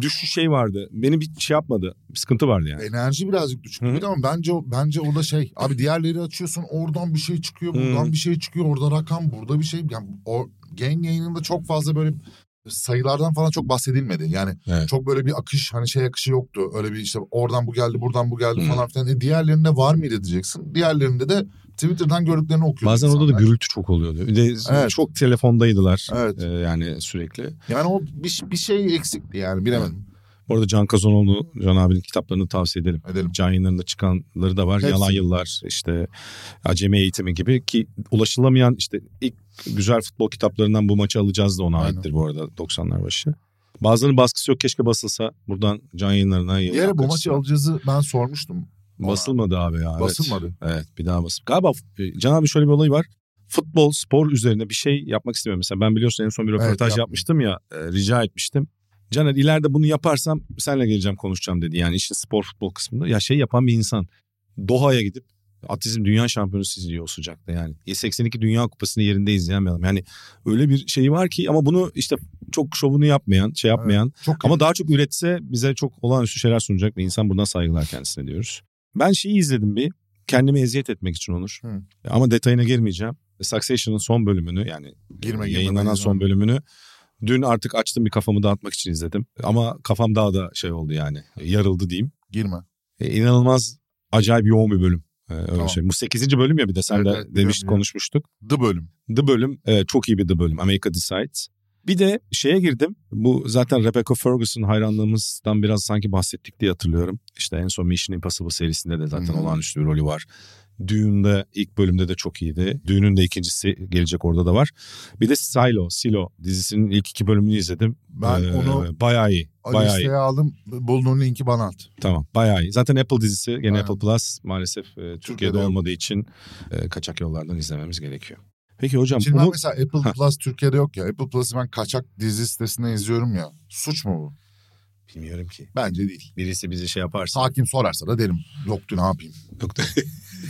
Speaker 2: düşüş şey vardı. Beni bir şey yapmadı. Bir sıkıntı vardı yani.
Speaker 3: enerji birazcık düşük
Speaker 2: Hı hı.
Speaker 3: bir de ama bence o- bence o da şey abi diğerleri açıyorsun oradan bir şey çıkıyor buradan
Speaker 2: Hı.
Speaker 3: bir şey çıkıyor orada rakam burada bir şey yani o game yayınında çok fazla böyle sayılardan falan çok bahsedilmedi. Yani
Speaker 2: Evet.
Speaker 3: çok böyle bir akış hani şey akışı yoktu. Öyle bir işte oradan bu geldi buradan bu geldi
Speaker 2: Hı.
Speaker 3: falan filan. E, diğerlerinde var mıydı diyeceksin. Diğerlerinde de Twitter'dan gördüklerini okuyor.
Speaker 2: Bazen orada da
Speaker 3: insanlar.
Speaker 2: gürültü çok oluyordu. Bir de
Speaker 3: Evet.
Speaker 2: çok telefondaydılar.
Speaker 3: Evet.
Speaker 2: Ee, yani sürekli.
Speaker 3: Yani o bir, bir şey eksikti yani bilemedim.
Speaker 2: Bu arada Can Kazanoğlu, Can abinin kitaplarını tavsiye edelim.
Speaker 3: Edelim.
Speaker 2: Can yayınlarında çıkanları da var.
Speaker 3: Hepsi.
Speaker 2: Yalan Yıllar, işte Acemi Eğitimi gibi ki ulaşılamayan işte ilk güzel futbol kitaplarından bu maçı alacağız da ona
Speaker 3: Aynen.
Speaker 2: aittir bu arada 90'lar başı. Bazılarının baskısı yok keşke basılsa. Buradan Can yayınlarına
Speaker 3: Bir
Speaker 2: yayın
Speaker 3: yere bu
Speaker 2: yapmak
Speaker 3: maçı
Speaker 2: istiyorum.
Speaker 3: alacağızı ben sormuştum. ona.
Speaker 2: Basılmadı abi ya. evet.
Speaker 3: Basılmadı.
Speaker 2: Evet bir daha basıp. Galiba e, Can abi şöyle bir olay var. Futbol, spor üzerine bir şey yapmak istemiyorum. Mesela ben biliyorsun en son bir
Speaker 3: Evet,
Speaker 2: röportaj
Speaker 3: yaptım.
Speaker 2: yapmıştım ya. e, rica etmiştim. Caner ileride bunu yaparsam senle geleceğim konuşacağım dedi. Yani işte spor futbol kısmında. Ya şey yapan bir insan. Doha'ya gidip atletizm dünya şampiyonu izliyor o sıcakta yani. 82 Dünya Kupası'nı yerinde izleyen bir adam. Yani öyle bir şey var ki ama bunu işte çok şovunu yapmayan, şey yapmayan
Speaker 3: Çok
Speaker 2: ama daha çok üretse bize çok olağanüstü şeyler sunacak bir insan. Buradan saygılar kendisine diyoruz. Ben şeyi izledim bir. Kendimi eziyet etmek için olur.
Speaker 3: Hı.
Speaker 2: Ama detayına girmeyeceğim. E, Succession'ın son bölümünü yani
Speaker 3: girme girme.
Speaker 2: yayınlanan
Speaker 3: ben
Speaker 2: son
Speaker 3: izlemedim.
Speaker 2: bölümünü dün artık açtım bir kafamı dağıtmak için izledim. Ama kafam daha da şey oldu yani yarıldı diyeyim.
Speaker 3: Girme.
Speaker 2: E, inanılmaz acayip yoğun bir bölüm. E, öyle
Speaker 3: Tamam.
Speaker 2: şey. Bu 8. bölüm ya bir de sen
Speaker 3: Evet,
Speaker 2: de
Speaker 3: evet, biliyorum,
Speaker 2: demiştik
Speaker 3: biliyorum.
Speaker 2: konuşmuştuk.
Speaker 3: The bölüm.
Speaker 2: The bölüm e, çok iyi bir The bölüm. America Decides. Bir de şeye girdim. Bu zaten Rebecca Ferguson hayranlığımızdan biraz sanki bahsettik diye hatırlıyorum. İşte en son Mission Impossible serisinde de zaten
Speaker 3: Hı hı.
Speaker 2: olağanüstü bir rolü var. Düğünde ilk bölümde de çok iyiydi. Düğünün de ikincisi gelecek orada da var. Bir de Silo, Silo dizisinin ilk iki bölümünü izledim.
Speaker 3: Ben
Speaker 2: Ee,
Speaker 3: onu
Speaker 2: bayağı iyi. Bayağı iyi.
Speaker 3: listeye aldım. Bulduğun linki bana at.
Speaker 2: Tamam bayağı iyi. Zaten Apple dizisi gene
Speaker 3: Aynen.
Speaker 2: Apple Plus maalesef e, Türkiye'de,
Speaker 3: Türkiye'de yok.
Speaker 2: olmadığı için e, kaçak yollardan izlememiz gerekiyor. Peki hocam
Speaker 3: Şimdi ben
Speaker 2: bunu
Speaker 3: mesela Apple Plus Türkiye'de yok ya. Apple Plus'ı ben kaçak dizi sitesinde izliyorum ya. Suç mu bu?
Speaker 2: bilmiyorum ki.
Speaker 3: Bence değil.
Speaker 2: birisi bizi şey yaparsa
Speaker 3: Hakim sorarsa da derim. Yoktu ne yapayım?
Speaker 2: Yok da-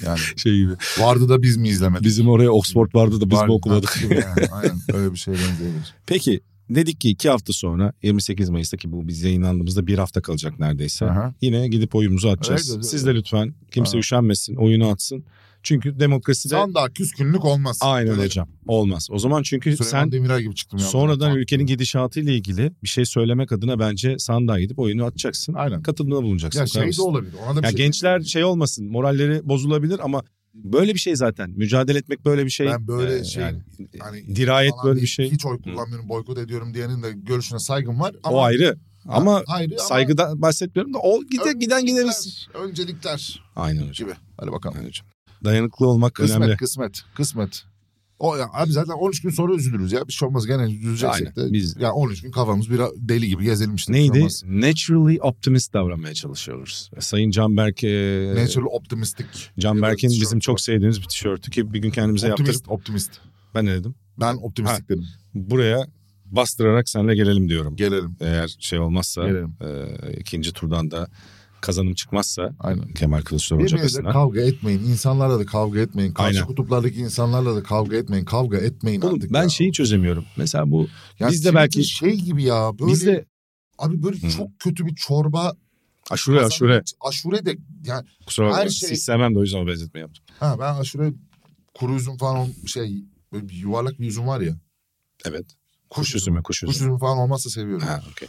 Speaker 3: Yani
Speaker 2: şey gibi.
Speaker 3: vardı da biz mi izlemedik?
Speaker 2: Bizim oraya Oxford vardı da biz
Speaker 3: Vardı
Speaker 2: mi
Speaker 3: da
Speaker 2: okumadık?
Speaker 3: gibi yani. Aynen öyle bir şeye benzeyebilir.
Speaker 2: Peki dedik ki iki hafta sonra 28 Mayıs'taki bu biz yayınlandığımızda bir hafta kalacak neredeyse.
Speaker 3: Aha.
Speaker 2: Yine gidip oyumuzu atacağız.
Speaker 3: Evet, evet,
Speaker 2: Siz de lütfen kimse
Speaker 3: Aha.
Speaker 2: üşenmesin oyunu atsın. Çünkü demokraside
Speaker 3: Sen daha küskünlük olmaz.
Speaker 2: aynen
Speaker 3: Öyle.
Speaker 2: hocam olmaz. O zaman çünkü
Speaker 3: Süleyman
Speaker 2: sen
Speaker 3: Demirel gibi çıktım. yalnız.
Speaker 2: sonradan
Speaker 3: Tamam.
Speaker 2: ülkenin gidişatıyla ilgili bir şey söylemek adına bence sandığa gidip oyunu atacaksın.
Speaker 3: Aynen.
Speaker 2: Katılımda bulunacaksın.
Speaker 3: Ya
Speaker 2: Bu kadar
Speaker 3: şey
Speaker 2: basit.
Speaker 3: de olabilir. Ona da bir
Speaker 2: Ya
Speaker 3: şey
Speaker 2: gençler şey olmasın, moralleri bozulabilir ama böyle bir şey zaten. Mücadele etmek böyle bir şey.
Speaker 3: Ben böyle şey,
Speaker 2: hani
Speaker 3: hani
Speaker 2: dirayet
Speaker 3: falan
Speaker 2: böyle
Speaker 3: deyip
Speaker 2: bir şey.
Speaker 3: Hiç oy kullanmıyorum, boykot ediyorum diyenin de görüşüne saygım var. Ama,
Speaker 2: o ayrı. Ama
Speaker 3: ayrı ama
Speaker 2: saygıdan bahsetmiyorum da o gide, giden gideriz.
Speaker 3: Öncelikler
Speaker 2: Aynen hocam.
Speaker 3: gibi. Hadi bakalım.
Speaker 2: Aynen hocam. Dayanıklı olmak
Speaker 3: Şey- Kısmet,
Speaker 2: önemli.
Speaker 3: kısmet, kısmet. O ya abi zaten 13 gün sonra üzülürüz ya. Bir şey olmaz gene üzüleceksek de.
Speaker 2: Aynen. Biz
Speaker 3: Ya 13 gün kafamız bir deli gibi gezelim işte. bir şey
Speaker 2: neydi?
Speaker 3: olmaz.
Speaker 2: Naturally optimist davranmaya çalışıyoruz. Sayın Canberk, e,
Speaker 3: Natural optimistik.
Speaker 2: Canberk'in
Speaker 3: Evet,
Speaker 2: bizim
Speaker 3: tişört
Speaker 2: çok
Speaker 3: var.
Speaker 2: sevdiğimiz bir tişörtü ki bir gün kendimize
Speaker 3: Optimist,
Speaker 2: yaptırdık.
Speaker 3: optimist.
Speaker 2: Ben ne dedim?
Speaker 3: Ben optimistik dedim.
Speaker 2: Buraya bastırarak senle gelelim diyorum.
Speaker 3: Gelelim.
Speaker 2: Eğer şey olmazsa
Speaker 3: Gelelim.
Speaker 2: e, ikinci turdan da kazanım çıkmasa
Speaker 3: Aynen.
Speaker 2: Kemal Kılıçdaroğlu
Speaker 3: Birbirinizle
Speaker 2: cephesinden.
Speaker 3: kavga etmeyin. insanlarla da kavga etmeyin. Karşı
Speaker 2: Aynen.
Speaker 3: kutuplardaki insanlarla da kavga etmeyin. Kavga etmeyin
Speaker 2: Oğlum
Speaker 3: artık.
Speaker 2: ben
Speaker 3: ya.
Speaker 2: şeyi çözemiyorum. Mesela bu
Speaker 3: Ya
Speaker 2: biz de
Speaker 3: şimdi
Speaker 2: belki-
Speaker 3: şey gibi ya. Böyle,
Speaker 2: bizde
Speaker 3: abi böyle
Speaker 2: Hı.
Speaker 3: çok kötü bir çorba.
Speaker 2: aşure aşure
Speaker 3: Aşure de yani
Speaker 2: kusura bakma
Speaker 3: Her şey-
Speaker 2: siz sevmem de o yüzden o benzetme yaptım.
Speaker 3: ha ben aşure kuru üzüm falan şey böyle bir yuvarlak bir üzüm var ya.
Speaker 2: Evet.
Speaker 3: Kuş,
Speaker 2: Kuş
Speaker 3: üzümü.
Speaker 2: üzümü kuş
Speaker 3: Kuş
Speaker 2: üzümü.
Speaker 3: üzümü falan olmazsa seviyorum.
Speaker 2: Ha okey.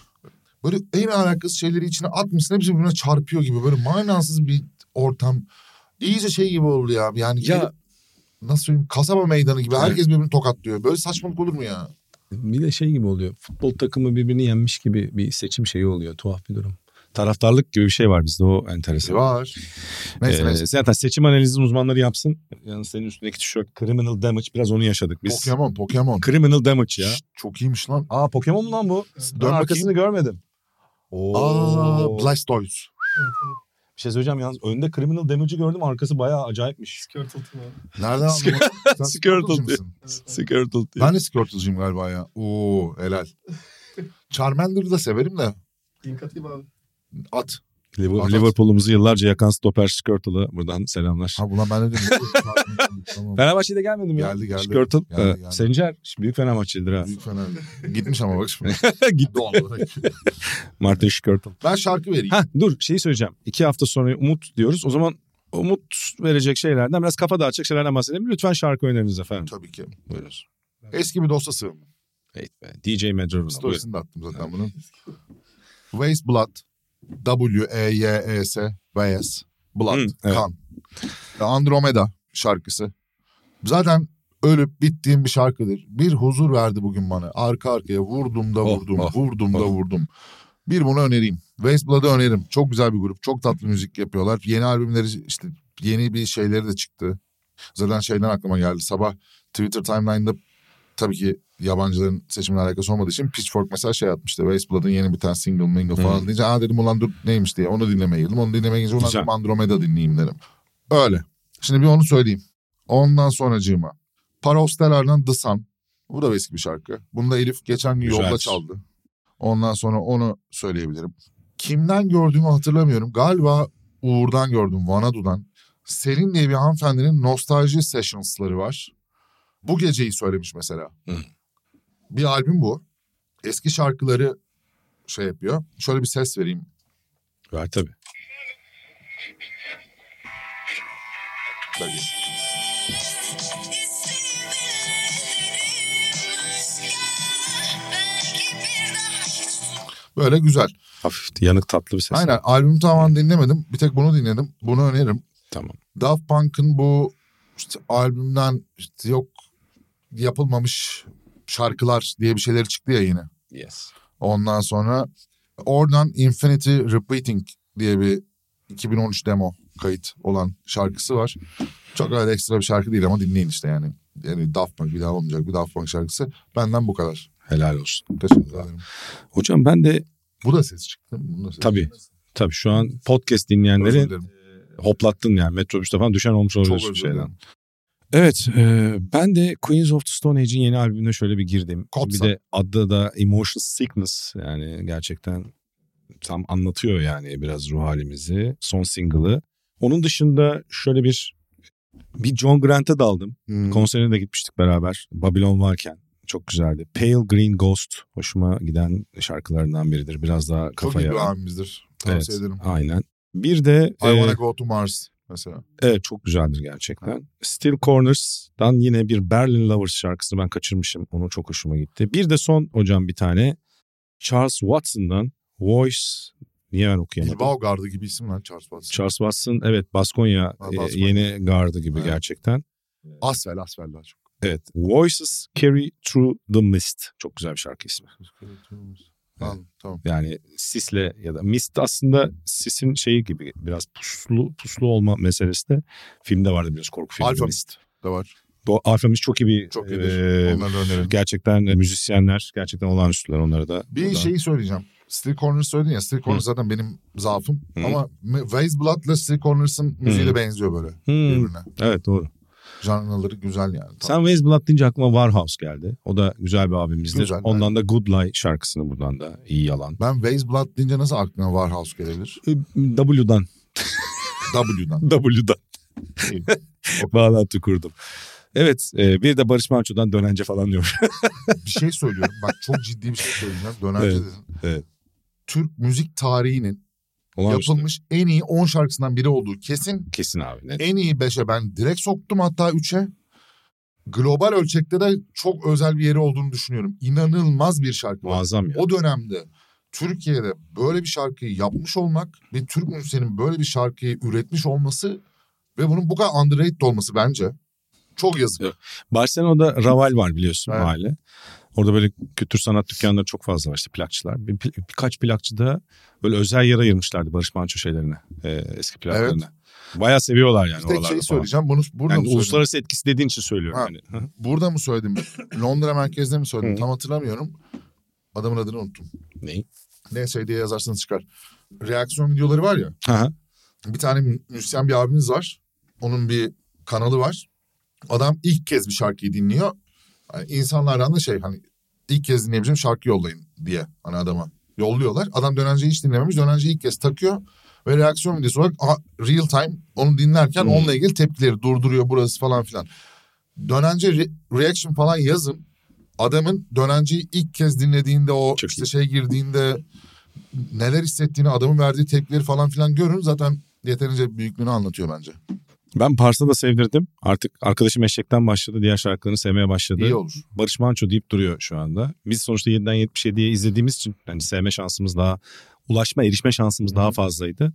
Speaker 3: Böyle en alakası şeyleri içine atmışsın hepsi birbirine çarpıyor gibi. Böyle manasız bir ortam. İyice şey gibi oldu ya. Yani
Speaker 2: Ya-
Speaker 3: gelip, nasıl söyleyeyim kasaba meydanı gibi herkes birbirini tokatlıyor. Böyle saçmalık olur mu ya?
Speaker 2: Bir de şey gibi oluyor. Futbol takımı birbirini yenmiş gibi bir seçim şeyi oluyor. Tuhaf bir durum. Taraftarlık gibi bir şey var bizde o enteresan.
Speaker 3: Var. Neyse
Speaker 2: Ee,
Speaker 3: neyse.
Speaker 2: zaten seçim analizi uzmanları yapsın. Yani senin üstündeki tişört Criminal Damage biraz onu yaşadık biz.
Speaker 3: Pokemon Pokemon.
Speaker 2: Criminal Damage ya.
Speaker 3: Şşt, çok iyiymiş lan.
Speaker 2: Aa Pokemon mu lan bu?
Speaker 3: Dön
Speaker 2: Ben arkasını görmedim.
Speaker 3: Aa Blastoise.
Speaker 2: Bir şey söyleyeceğim yalnız önde Criminal Damage'i gördüm arkası bayağı acayipmiş.
Speaker 4: Skirtle'tı var.
Speaker 3: Nereden
Speaker 2: [LAUGHS]
Speaker 3: anladın? Sen
Speaker 2: Skirtle
Speaker 3: Skirtle'cı
Speaker 2: diyor.
Speaker 3: mısın?
Speaker 4: Evet, evet.
Speaker 2: Skirtle diye.
Speaker 3: Ben de Skirtle'cıyım galiba ya. Oo helal. Charmander'ı da severim de.
Speaker 4: Link atayım abi.
Speaker 3: At.
Speaker 2: Liver-
Speaker 3: Adam-
Speaker 2: Liverpool'umuzu yıllarca yakan stoper Skirtle'ı buradan selamlar.
Speaker 3: Ha ulan ben
Speaker 2: [LAUGHS]
Speaker 3: de dedim. tamam.
Speaker 2: Fenerbahçe'de gelmedim ya.
Speaker 3: Geldi, geldi.
Speaker 2: Skirtle.
Speaker 3: Geldi,
Speaker 2: e,
Speaker 3: geldi.
Speaker 2: Sencer büyük Fenerbahçelidir ha.
Speaker 3: Büyük fener. Gitmiş ama bak şimdi.
Speaker 2: [LAUGHS] Gitti.
Speaker 3: Doğal olarak.
Speaker 2: Martin Skirtle.
Speaker 3: Ben şarkı vereyim.
Speaker 2: Ha dur şeyi söyleyeceğim. İki hafta sonra umut diyoruz. O zaman umut verecek şeylerden biraz kafa dağıtacak şeylerden bahsedelim. Lütfen şarkı öneriniz efendim.
Speaker 3: Tabii ki.
Speaker 2: Buyurunuz.
Speaker 3: Eski bir dosta sığınma.
Speaker 2: Evet be. DJ Medro'nun. Buyurun.
Speaker 3: Storiesini de attım zaten bunun.
Speaker 2: [LAUGHS]
Speaker 3: Waste Blood. E W-E-Y-E-S. Waste Blood.
Speaker 2: Hı, Hmm, evet.
Speaker 3: Kan. E, Andromeda şarkısı. Zaten ölüp bittiğim bir şarkıdır. Bir huzur verdi bugün bana. Arka arkaya vurdum da
Speaker 2: Oh,
Speaker 3: vurdum,
Speaker 2: oh,
Speaker 3: vurdum da
Speaker 2: oh.
Speaker 3: vurdum. Bir bunu önereyim. Waste Blood'ı öneririm. Çok güzel bir grup. Çok tatlı müzik yapıyorlar. Yeni albümleri işte yeni bir şeyleri de çıktı. Zaten şeyden aklıma geldi. Sabah Twitter timeline'da tabii ki yabancıların seçimle alakası olmadığı için Pitchfork mesela şey atmıştı. Waste Blood'ın yeni bir tane single mingle falan deyince aa dedim ulan dur neymiş diye onu dinlemeye girdim. Onu dinlemeye girince ulan
Speaker 2: Güzel.
Speaker 3: dedim, Andromeda dinleyeyim dedim. Öyle. Şimdi bir onu söyleyeyim. Ondan sonracığıma. Parostelar'dan The Sun. Bu da eski bir şarkı. Bunu da Elif geçen gün
Speaker 2: Güzel.
Speaker 3: yolda çaldı. Ondan sonra onu söyleyebilirim. Kimden gördüğümü hatırlamıyorum. Galiba Uğur'dan gördüm, Vanadu'dan. Selin diye bir hanımefendinin nostalji sessions'ları var. Bu geceyi söylemiş mesela.
Speaker 2: Hı.
Speaker 3: Bir albüm bu. Eski şarkıları şey yapıyor. Şöyle bir ses vereyim.
Speaker 2: Ver tabii.
Speaker 3: Tabii. Böyle güzel.
Speaker 2: Hafif yanık tatlı bir ses.
Speaker 3: Aynen albümü tamamen dinlemedim. Bir tek bunu dinledim. Bunu öneririm.
Speaker 2: Tamam.
Speaker 3: Daft Punk'ın bu işte albümden işte yok yapılmamış şarkılar diye bir şeyler çıktı ya yine.
Speaker 2: Yes.
Speaker 3: Ondan sonra oradan Infinity Repeating diye bir 2013 demo kayıt olan şarkısı var. Çok öyle ekstra bir şarkı değil ama dinleyin işte yani. Yani Daft Punk bir daha olmayacak bir Daft Punk şarkısı. Benden bu kadar.
Speaker 2: Helal olsun.
Speaker 3: Teşekkür ederim.
Speaker 2: Hocam ben de
Speaker 3: Bu da ses çıktı. değil mi? Bunun da sesi
Speaker 2: tabii tabii şu an podcast
Speaker 3: çıktı. Özür
Speaker 2: dinleyenleri
Speaker 3: dilerim.
Speaker 2: hoplattın yani metrobüste falan düşen olmuş
Speaker 3: Çok
Speaker 2: olabilir
Speaker 3: özür
Speaker 2: bir şeyden.
Speaker 3: dilerim.
Speaker 2: Evet e, ben de Queens of the Stone Age'in yeni albümüne şöyle bir girdim.
Speaker 3: Kopsa.
Speaker 2: Bir de adda da Emotional Sickness yani gerçekten tam anlatıyor yani biraz ruh halimizi. Son single'ı. Onun dışında şöyle bir bir John Grant'a daldım.
Speaker 3: Hmm.
Speaker 2: Konserine de gitmiştik beraber. Babylon varken çok güzeldi. Pale Green Ghost hoşuma giden şarkılarından biridir. Biraz daha
Speaker 3: Çok iyi
Speaker 2: kafaya.
Speaker 3: bir abimizdir. Tavsiye ederim.
Speaker 2: Aynen. Bir de
Speaker 3: I Wanna
Speaker 2: e,
Speaker 3: Go to Mars mesela.
Speaker 2: Evet çok güzeldir gerçekten. Still Corners'dan yine bir Berlin Lovers şarkısını ben kaçırmışım. Onu çok hoşuma gitti. Bir de son hocam bir tane Charles Watson'dan Voice niye ben okuyamadım?
Speaker 3: Bilbao Gardı gibi isim lan Charles Watson.
Speaker 2: Charles Watson evet Baskonya e,
Speaker 3: Baskonya.
Speaker 2: yeni gardı gibi
Speaker 3: Evet.
Speaker 2: gerçekten.
Speaker 3: Asvel Asvel daha çok.
Speaker 2: Evet Voices Carry Through the Mist çok güzel bir şarkı ismi.
Speaker 3: Tamam, tamam.
Speaker 2: Yani sisle ya da mist aslında sisin şeyi gibi biraz puslu puslu olma meselesi de filmde vardı biraz korku filmi.
Speaker 3: Alfa
Speaker 2: Mist.
Speaker 3: Da var.
Speaker 2: Do- Alfa Mist çok iyi bir
Speaker 3: Çok
Speaker 2: e,
Speaker 3: iyidir. Onları da öneririm.
Speaker 2: Gerçekten e, müzisyenler gerçekten olağanüstüler onlara da.
Speaker 3: Bir şey-
Speaker 2: buradan-
Speaker 3: şeyi söyleyeceğim. Steel Corners söyledin ya. Steel Corners zaten benim zaafım.
Speaker 2: Hı.
Speaker 3: Ama Waze Blood'la Steel Corners'ın müziği de benziyor böyle
Speaker 2: Hmm,
Speaker 3: birbirine.
Speaker 2: evet doğru.
Speaker 3: Janraları güzel yani.
Speaker 2: Sen Waze Blood deyince aklıma Warhouse geldi. O da güzel bir abimizdir.
Speaker 3: Güzel,
Speaker 2: Ondan da Good Lie şarkısını buradan da iyi yalan.
Speaker 3: Ben Waze Blood deyince nasıl aklına Warhouse gelebilir?
Speaker 2: E, W'dan. [LAUGHS]
Speaker 3: W'dan.
Speaker 2: W'dan.
Speaker 3: İyi.
Speaker 2: Bağlantı kurdum. Evet e, bir de Barış Manço'dan dönence falan diyor. [LAUGHS]
Speaker 3: bir şey söylüyorum. Bak çok ciddi bir şey söyleyeceğim. Dönerce
Speaker 2: Evet,
Speaker 3: dedin.
Speaker 2: evet.
Speaker 3: Türk müzik tarihinin
Speaker 2: Olağanüstü.
Speaker 3: yapılmış en iyi 10 şarkısından biri olduğu kesin.
Speaker 2: Kesin abi. net.
Speaker 3: En iyi 5'e ben direkt soktum hatta 3'e. Global ölçekte de çok özel bir yeri olduğunu düşünüyorum. İnanılmaz bir şarkı var.
Speaker 2: Muazzam ya.
Speaker 3: O dönemde Türkiye'de böyle bir şarkıyı yapmış olmak bir Türk müzisyenin böyle bir şarkıyı üretmiş olması ve bunun bu kadar underrated olması bence çok yazık.
Speaker 2: Barcelona'da Raval var biliyorsun
Speaker 3: Evet.
Speaker 2: mahalle. Orada böyle kültür sanat dükkanları çok fazla var işte plakçılar. Bir, pl- birkaç plakçı da böyle özel yer ayırmışlardı Barış Manço şeylerine. e, eski plaklarına. Bayağı seviyorlar yani
Speaker 3: Bir tek
Speaker 2: oralarda falan.
Speaker 3: şeyi söyleyeceğim. Bunu burada mı
Speaker 2: Yani
Speaker 3: söyledim?
Speaker 2: uluslararası etkisi dediğin için söylüyorum. hani.
Speaker 3: Ha.
Speaker 2: Yani. Hı.
Speaker 3: Burada
Speaker 2: [LAUGHS]
Speaker 3: mı söyledim? Londra merkezde mi söyledim?
Speaker 2: Hı.
Speaker 3: Tam hatırlamıyorum. Adamın adını unuttum.
Speaker 2: Neyi?
Speaker 3: Neyse diye yazarsanız çıkar. Reaksiyon videoları var ya.
Speaker 2: Hı hı.
Speaker 3: bir tane mü- müzisyen bir abimiz var. Onun bir kanalı var. Adam ilk kez bir şarkıyı dinliyor. Hani insanlardan da şey hani ilk kez dinleyebileceğim şarkı yollayın diye hani adama yolluyorlar. Adam dönenceyi hiç dinlememiş. Dönenceyi ilk kez takıyor ve reaksiyon videosu olarak aha, real time onu dinlerken
Speaker 2: Hmm.
Speaker 3: onunla ilgili tepkileri durduruyor burası falan filan. Dönence re- reaction falan yazın. Adamın dönenceyi ilk kez dinlediğinde o
Speaker 2: Çok
Speaker 3: işte şey girdiğinde neler hissettiğini adamın verdiği tepkileri falan filan görün zaten yeterince büyüklüğünü anlatıyor bence.
Speaker 2: Ben Pars'a da sevdirdim. Artık arkadaşım eşekten başladı. Diğer şarkılarını sevmeye başladı.
Speaker 3: İyi olur.
Speaker 2: Barış Manço deyip duruyor şu anda. Biz sonuçta 7'den 77'ye izlediğimiz için yani sevme şansımız daha, ulaşma erişme şansımız daha fazlaydı.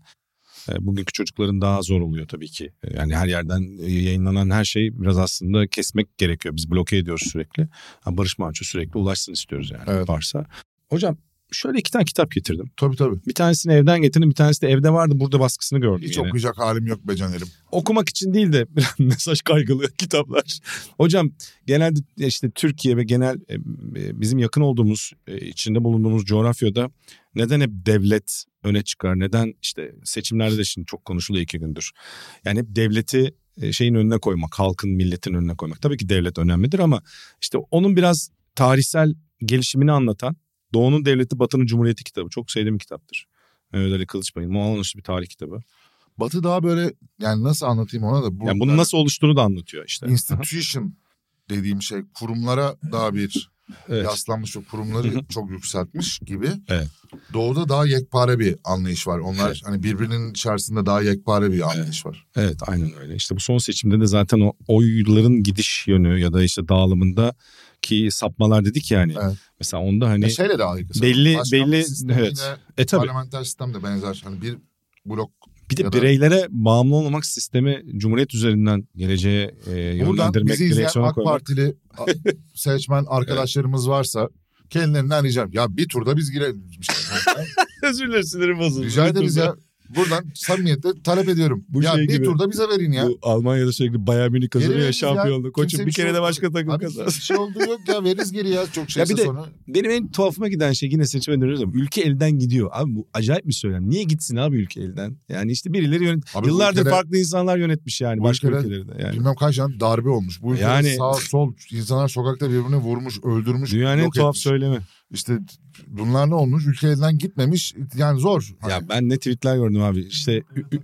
Speaker 2: E, Bugünkü çocukların daha zor oluyor tabii ki. E, Yani her yerden e, yayınlanan her şey biraz aslında kesmek gerekiyor. Biz bloke ediyoruz sürekli. Ha, Barış Manço sürekli ulaşsın istiyoruz yani
Speaker 3: Evet.
Speaker 2: varsa. Hocam şöyle iki tane kitap getirdim.
Speaker 3: Tabii tabii.
Speaker 2: Bir tanesini evden getirdim, bir tanesi de evde vardı. Burada baskısını gördüm.
Speaker 3: Hiç
Speaker 2: yine
Speaker 3: okuyacak halim yok be canerim.
Speaker 2: okumak için değil de biraz [LAUGHS] mesaj kaygılı kitaplar. Hocam genelde işte Türkiye ve genel e, e, bizim yakın olduğumuz e, içinde bulunduğumuz coğrafyada neden hep devlet öne çıkar? Neden işte seçimlerde de şimdi çok konuşuluyor iki gündür. Yani hep devleti e, şeyin önüne koymak, halkın, milletin önüne koymak. Tabii ki devlet önemlidir ama işte onun biraz tarihsel gelişimini anlatan Doğu'nun Devleti Batı'nın Cumhuriyeti kitabı. Çok sevdiğim bir kitaptır. Mehmet Ali Kılıçbay'ın muazzam bir tarih kitabı.
Speaker 3: Batı daha böyle yani nasıl anlatayım ona da.
Speaker 2: Yani bunun nasıl oluştuğunu da anlatıyor işte.
Speaker 3: [LAUGHS] Institution dediğim şey kurumlara daha bir
Speaker 2: Evet.
Speaker 3: yaslanmış ve
Speaker 2: [LAUGHS]
Speaker 3: kurumları çok yükseltmiş gibi.
Speaker 2: Evet.
Speaker 3: Doğuda daha yekpare bir anlayış var. Onlar
Speaker 2: Evet.
Speaker 3: hani birbirinin içerisinde daha yekpare bir anlayış var.
Speaker 2: Evet aynen öyle. İşte bu son seçimde de zaten o oyların gidiş yönü ya da işte dağılımında ki sapmalar dedik yani.
Speaker 3: Evet.
Speaker 2: Mesela onda hani
Speaker 3: E şeyle de alakası. var.
Speaker 2: belli
Speaker 3: Başkanlık
Speaker 2: belli
Speaker 3: sistemiyle
Speaker 2: evet. E tabii.
Speaker 3: Parlamenter sistem de benzer. Hani bir blok
Speaker 2: Bir de
Speaker 3: ya da-
Speaker 2: bireylere bağımlı olmamak sistemi cumhuriyet üzerinden geleceğe e,
Speaker 3: Buradan
Speaker 2: yönlendirmek,
Speaker 3: bizi izleyen
Speaker 2: direksiyona
Speaker 3: AK
Speaker 2: koymak.
Speaker 3: Partili
Speaker 2: [LAUGHS]
Speaker 3: a- seçmen arkadaşlarımız varsa kendilerinden ricam. Ya bir turda biz girelim.
Speaker 2: [LAUGHS] Özür dilerim sinirim bozuldu.
Speaker 3: Rica ederiz ya. Buradan samimiyetle talep ediyorum.
Speaker 2: Bu
Speaker 3: ya
Speaker 2: şey
Speaker 3: bir
Speaker 2: gibi.
Speaker 3: turda bize verin ya.
Speaker 2: Bu Almanya'da sürekli Bayern Münih kazanıyor ya
Speaker 3: Geliriz ya.
Speaker 2: şampiyonluğu. Koçum
Speaker 3: Kimse
Speaker 2: bir
Speaker 3: bir şey
Speaker 2: kere de
Speaker 3: olmaz.
Speaker 2: başka takım
Speaker 3: Abi bir
Speaker 2: kazan.
Speaker 3: şey olduğu yok ya veririz geri ya çok şeyse
Speaker 2: bir de-
Speaker 3: sonra.
Speaker 2: Benim en tuhafıma giden şey yine seçime dönüyoruz ama ülke elden gidiyor. Abi bu acayip bir söylem. Niye gitsin abi ülke elden? Yani işte birileri yönet...
Speaker 3: Abi bu
Speaker 2: Yıllardır
Speaker 3: ülkede
Speaker 2: farklı insanlar yönetmiş yani
Speaker 3: bu
Speaker 2: başka
Speaker 3: ülkede-
Speaker 2: ülkelerde. Yani.
Speaker 3: Bilmem kaç tane darbe olmuş. Bu ülkede
Speaker 2: Yani-
Speaker 3: sağ sol insanlar sokakta birbirini vurmuş, öldürmüş,
Speaker 2: Dünyanın en
Speaker 3: yok
Speaker 2: tuhaf şey-
Speaker 3: etmiş.
Speaker 2: söylemi.
Speaker 3: İşte bunlar ne olmuş? Ülke elden gitmemiş. Yani zor. Hani
Speaker 2: Ya ben ne tweetler gördüm abi. İşte ü- ü-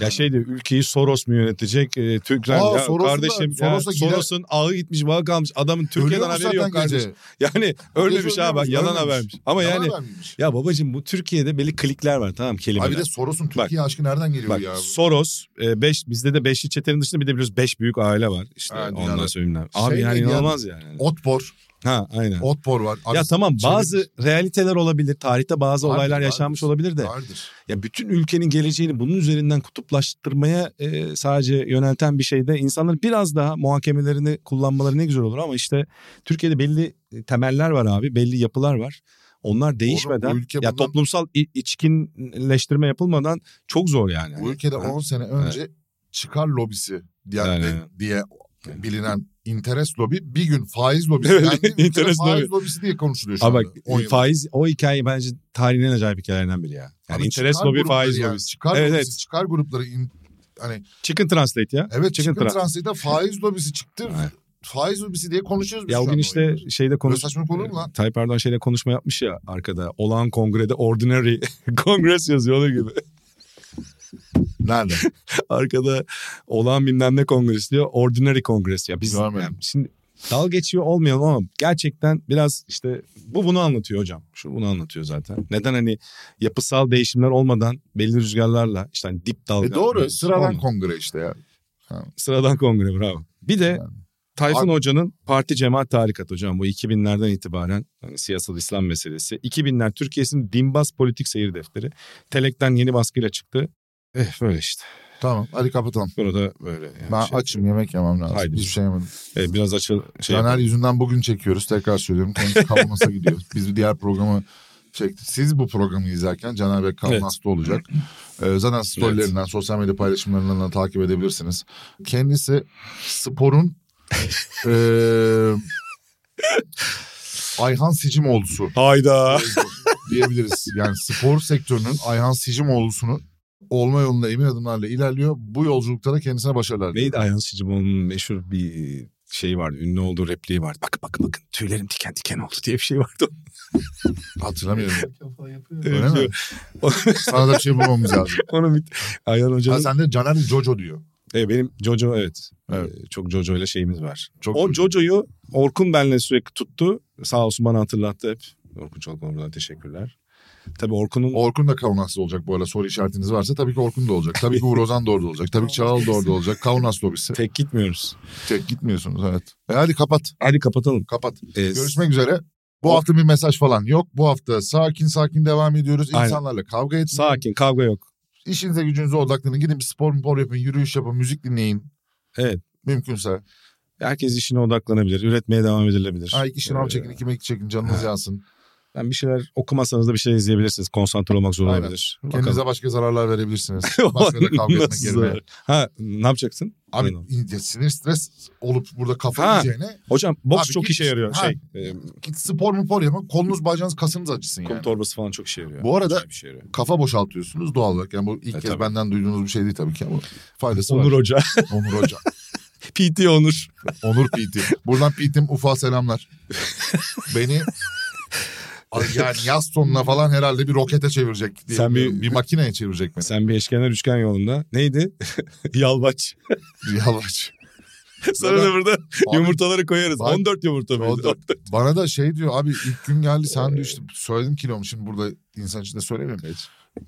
Speaker 2: ya şey diyor ülkeyi Soros mu yönetecek? E, Türkler
Speaker 3: Aa,
Speaker 2: ya
Speaker 3: Soros'un da-
Speaker 2: kardeşim ya
Speaker 3: Soros'a gider-
Speaker 2: Soros'un ağı gitmiş bağı kalmış. Adamın Türkiye'den
Speaker 3: ölüyormuş
Speaker 2: haberi yok
Speaker 3: zaten gece.
Speaker 2: kardeşim. [LAUGHS] Yani ölmemiş
Speaker 3: Gece
Speaker 2: abi bak
Speaker 3: ölüyormuş,
Speaker 2: yalan
Speaker 3: ölmemiş.
Speaker 2: habermiş. Ama
Speaker 3: Yalan
Speaker 2: yani
Speaker 3: habermiş.
Speaker 2: ya babacığım bu Türkiye'de belli klikler var tamam kelimeler.
Speaker 3: Abi bir de Soros'un Türkiye aşkı nereden geliyor
Speaker 2: Bak
Speaker 3: ya?
Speaker 2: Soros, e, beş, bizde de beşli çetenin dışında bir de biliyoruz beş büyük aile var. İşte
Speaker 3: Ha, dünyada.
Speaker 2: ondan söyleyeyim. Abi
Speaker 3: Şey
Speaker 2: yani
Speaker 3: neydi ya?
Speaker 2: inanılmaz yani.
Speaker 3: Otpor.
Speaker 2: Ha aynen.
Speaker 3: Otpor var.
Speaker 2: Ya
Speaker 3: Abi,
Speaker 2: tamam
Speaker 3: çevirmiş.
Speaker 2: bazı realiteler olabilir. Tarihte bazı
Speaker 3: Vardır,
Speaker 2: olaylar
Speaker 3: vardır.
Speaker 2: yaşanmış olabilir de.
Speaker 3: Vardır.
Speaker 2: Ya bütün ülkenin geleceğini bunun üzerinden kutuplaştırmaya e, sadece yönelten bir şeyde insanların biraz daha muhakemelerini kullanmaları ne güzel olur ama işte Türkiye'de belli e, temeller var abi, belli yapılar var. Onlar değişmeden
Speaker 3: bu ülke
Speaker 2: ya
Speaker 3: bundan-
Speaker 2: toplumsal i- içkinleştirme yapılmadan çok zor yani.
Speaker 3: Bu ülkede
Speaker 2: Ha.
Speaker 3: 10 sene önce çıkar lobisi diye,
Speaker 2: Yani.
Speaker 3: diye bilinen interes lobi bir gün faiz lobisi. Yani bir ülkede
Speaker 2: İnteres
Speaker 3: faiz
Speaker 2: lobi.
Speaker 3: lobisi diye konuşuluyor şu
Speaker 2: Ama
Speaker 3: anda.
Speaker 2: bak
Speaker 3: 10 yıl.
Speaker 2: faiz o hikaye bence tarihin en acayip hikayelerinden biri ya. Yani
Speaker 3: Abi
Speaker 2: interes
Speaker 3: çıkar
Speaker 2: lobi
Speaker 3: grupları
Speaker 2: faiz
Speaker 3: yani,
Speaker 2: lobisi.
Speaker 3: Çıkar
Speaker 2: Evet,
Speaker 3: lobisi,
Speaker 2: evet.
Speaker 3: çıkar grupları. in- hani
Speaker 2: Chicken translate ya.
Speaker 3: evet
Speaker 2: Chicken
Speaker 3: çıkın
Speaker 2: tra-
Speaker 3: transite faiz
Speaker 2: [LAUGHS]
Speaker 3: lobisi çıktı.
Speaker 2: Evet.
Speaker 3: Faiz lobisi diye konuşuyoruz biz
Speaker 2: Ya
Speaker 3: şu
Speaker 2: o gün
Speaker 3: anda
Speaker 2: işte
Speaker 3: oyunu.
Speaker 2: şeyde
Speaker 3: Böyle
Speaker 2: konuş
Speaker 3: saçma konu mu lan?
Speaker 2: Tayyip Erdoğan şeyle konuşma yapmış ya arkada. Olağan kongrede ordinary [LAUGHS] kongres yazıyor onun gibi. [LAUGHS]
Speaker 3: Nerede?
Speaker 2: Arkada olağan bilmem ne kongres diyor. Ordinary kongres ya. Biz
Speaker 3: Görmedim.
Speaker 2: yani şimdi dal geçiyor olmayalım ama gerçekten biraz işte bu bunu anlatıyor hocam. Şu bunu anlatıyor zaten. Neden hani yapısal değişimler olmadan belli rüzgarlarla işte hani dip dalga.
Speaker 3: E doğru sıradan
Speaker 2: Olmadı.
Speaker 3: kongre işte ya.
Speaker 2: Sıradan kongre bravo. Bir de
Speaker 3: Yani.
Speaker 2: Tayfun Hoca'nın Parti Cemaat Tarikat hocam bu 2000'lerden itibaren hani siyasal İslam meselesi. 2000'ler Türkiye'sinin dinbaz politik seyir defteri. Telek'ten yeni baskıyla çıktı. Eh böyle işte.
Speaker 3: Tamam hadi kapatalım.
Speaker 2: Bunu da böyle. yani
Speaker 3: Ben
Speaker 2: şey-
Speaker 3: açım yemek yemem lazım.
Speaker 2: Haydi.
Speaker 3: Hiçbir şey yemedim.
Speaker 2: E, biraz açıl. Şey
Speaker 3: Caner yüzünden bugün çekiyoruz. Tekrar söylüyorum.
Speaker 2: [LAUGHS]
Speaker 3: Kendisi kavmasa gidiyor. Biz bir diğer programı çektik. Siz bu programı izlerken Caner Bey
Speaker 2: Evet.
Speaker 3: kavmasta olacak. Ee, zaten storylerinden, sosyal medya paylaşımlarından da takip edebilirsiniz. Kendisi
Speaker 2: [LAUGHS]
Speaker 3: sporun eee Ayhan Sicimoğlu'su
Speaker 2: Hayda.
Speaker 3: diyebiliriz. Yani spor sektörünün Ayhan Sicimoğlu'sunu olma yolunda emin adımlarla ilerliyor. Bu yolculukta da kendisine başarılar.
Speaker 2: Neydi Ayhan Siciboğlu'nun meşhur bir şeyi vardı. Ünlü olduğu repliği vardı. Bak bak bakın tüylerim diken diken oldu diye bir şey vardı. [LAUGHS]
Speaker 3: Hatırlamıyorum.
Speaker 2: Evet,
Speaker 3: Öyle mi? [LAUGHS] Sana da bir şey bulmamız lazım.
Speaker 2: Onu bir... Ayhan
Speaker 3: Ha,
Speaker 2: Hoca'nın...
Speaker 3: sen de Caner Jojo diyor.
Speaker 2: E, benim Jojo evet.
Speaker 3: Evet.
Speaker 2: E, çok Jojo ile şeyimiz var.
Speaker 3: Çok
Speaker 2: o Jojo'yu Orkun benle sürekli tuttu. Sağ olsun bana hatırlattı hep. Orkun Çolak'ın buradan teşekkürler. Tabii Orkun'un
Speaker 3: Orkun da Kaunas olacak bu arada soru işaretiniz varsa tabii ki Orkun da olacak. Tabii ki Uğur Ozan da orada olacak. Tabii ki Çağal da orada olacak. Kaunas lobisi.
Speaker 2: tek gitmiyoruz.
Speaker 3: Tek gitmiyorsunuz evet. E hadi kapat.
Speaker 2: Hadi kapatalım.
Speaker 3: Kapat.
Speaker 2: E,
Speaker 3: Görüşmek üzere. Bu hafta bir mesaj falan yok. Bu hafta sakin sakin devam ediyoruz.
Speaker 2: Aynen.
Speaker 3: İnsanlarla kavga etmeyin.
Speaker 2: Sakin kavga yok.
Speaker 3: İşinize gücünüze odaklanın. Gidin bir spor spor yapın, yürüyüş yapın, müzik dinleyin.
Speaker 2: Evet.
Speaker 3: Mümkünse.
Speaker 2: Herkes işine odaklanabilir. Üretmeye devam edilebilir.
Speaker 3: Ha, iki şınav
Speaker 2: Ee,
Speaker 3: çekin, iki mekik çekin, [LAUGHS] canınız yansın.
Speaker 2: Yani bir şeyler okumasanız da bir şeyler izleyebilirsiniz. Konsantre olmak zor
Speaker 3: Aynen.
Speaker 2: olabilir.
Speaker 3: Kendinize başka zararlar verebilirsiniz. [LAUGHS]
Speaker 2: Bakalım.
Speaker 3: Başkalarıyla kavga etmek
Speaker 2: Nasıl
Speaker 3: yerine.
Speaker 2: zarar? Ha ne yapacaksın?
Speaker 3: Abi
Speaker 2: Aynen.
Speaker 3: in- sinir stres olup burada kafa
Speaker 2: Ha.
Speaker 3: yiyeceğine
Speaker 2: Hocam boks
Speaker 3: Abi
Speaker 2: çok
Speaker 3: git-
Speaker 2: işe yarıyor.
Speaker 3: Ha.
Speaker 2: Şey, e,
Speaker 3: git spor mu spor yapın. Kolunuz bacağınız kasınız acısın
Speaker 2: kum
Speaker 3: yani.
Speaker 2: torbası falan çok işe yarıyor.
Speaker 3: Bu arada-
Speaker 2: Acayip işe yarıyor.
Speaker 3: Kafa boşaltıyorsunuz doğal olarak. Yani bu ilk
Speaker 2: E,
Speaker 3: kez
Speaker 2: tabii.
Speaker 3: benden duyduğunuz bir şey değil tabii ki ama faydası
Speaker 2: Onur
Speaker 3: var.
Speaker 2: Hoca.
Speaker 3: Onur Hoca. [LAUGHS]
Speaker 2: PT Onur.
Speaker 3: Onur PT. Buradan PT'm Ufa selamlar.
Speaker 2: [LAUGHS]
Speaker 3: Beni yani yaz sonuna falan herhalde bir rokete çevirecek. Diye
Speaker 2: Sen bir-
Speaker 3: bir, bir makineye çevirecek beni.
Speaker 2: Sen bir eşkenar üçgen yolunda. Neydi? [LAUGHS] Yalvaç.
Speaker 3: Yalvaç.
Speaker 2: Sana da burada
Speaker 3: Abi,
Speaker 2: yumurtaları koyarız.
Speaker 3: bak-
Speaker 2: 14 yumurta mıydı?
Speaker 3: 14. Bana da şey diyor abi ilk gün geldi sen diyor işte söyledim kilomu şimdi burada insan içinde söylemiyorum.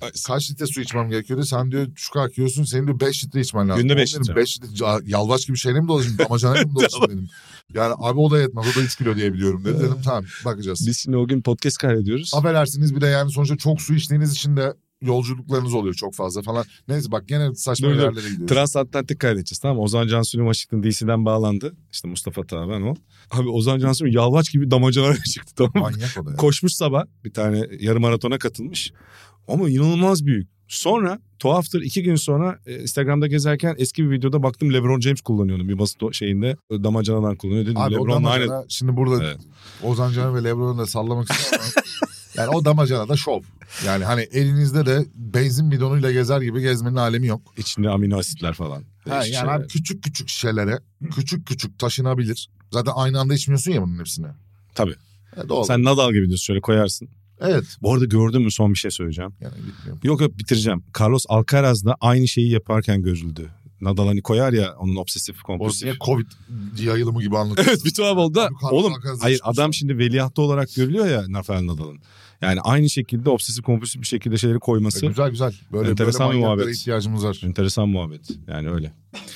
Speaker 2: Ay,
Speaker 3: Kaç litre su içmem gerekiyor diyor. Sen diyor şu kadar kilosun senin diyor 5 litre içmen lazım.
Speaker 2: Günde
Speaker 3: Oğlum
Speaker 2: beş
Speaker 3: dedim,
Speaker 2: litre.
Speaker 3: beş litre ya- yalvaç gibi şeyle mi dolaşayım damacanayla mı dolaşayım dedim. Yani abi o da yetmez o da 3 kilo diye biliyorum dedi. Dedim tamam bakacağız.
Speaker 2: Biz şimdi o gün podcast kaydediyoruz.
Speaker 3: Affedersiniz bir de yani sonuçta çok su içtiğiniz için de yolculuklarınız oluyor çok fazla falan. Neyse bak gene saçma
Speaker 2: Dur, dur.
Speaker 3: yerlere gidiyoruz.
Speaker 2: Transatlantik kaydedeceğiz tamam mı? Ozan Cansu'nun Washington DC'den bağlandı. İşte Mustafa Taha ben o. Abi Ozan Cansu yalvaç gibi damacana [LAUGHS] çıktı tamam mı?
Speaker 3: Manyak o da ya.
Speaker 2: Koşmuş sabah bir tane yarım maratona katılmış. Ama inanılmaz büyük. Sonra tuhaftır iki gün sonra e, Instagram'da gezerken eski bir videoda baktım LeBron James kullanıyordu. Bir basit o- şeyinde e, damacanadan kullanıyor. Dedim
Speaker 3: Abi o
Speaker 2: LeBron'la
Speaker 3: damacana
Speaker 2: aynı.
Speaker 3: şimdi burada
Speaker 2: Evet.
Speaker 3: Ozan Can ve Lebron'u da sallamak istiyorum [LAUGHS] ama yani o damacana da şov. Yani hani elinizde de benzin bidonuyla gezer gibi gezmenin alemi yok.
Speaker 2: içinde amino asitler falan.
Speaker 3: Ha, yani
Speaker 2: Değişik
Speaker 3: abi
Speaker 2: şeyler.
Speaker 3: küçük küçük şişelere küçük küçük taşınabilir. Zaten aynı anda içmiyorsun ya bunun hepsini.
Speaker 2: Tabii.
Speaker 3: Evet, doğal.
Speaker 2: Sen Nadal gibi diyorsun şöyle koyarsın.
Speaker 3: Evet.
Speaker 2: Bu arada gördün mü son bir şey söyleyeceğim.
Speaker 3: Yani bilmiyorum.
Speaker 2: Yok yok bitireceğim. Carlos Alcaraz da aynı şeyi yaparken görüldü. Nadal hani koyar ya onun obsesif [LAUGHS]
Speaker 3: O
Speaker 2: kompulsif.
Speaker 3: niye Covid yayılımı gibi anlatıyorsun?
Speaker 2: Evet bir tuhaf oldu da.
Speaker 3: Bu kadar
Speaker 2: Oğlum
Speaker 3: alakasız
Speaker 2: hayır
Speaker 3: çıkmış ya.
Speaker 2: adam şimdi veliahtı olarak görülüyor ya Rafael Nadal'ın. Yani aynı şekilde obsesif kompulsif bir şekilde şeyleri
Speaker 3: E,
Speaker 2: koyması.
Speaker 3: Güzel güzel. Böyle
Speaker 2: Enteresan bir
Speaker 3: böyle manyaklara
Speaker 2: muhabbet.
Speaker 3: ihtiyacımız var.
Speaker 2: Enteresan muhabbet. Yani öyle.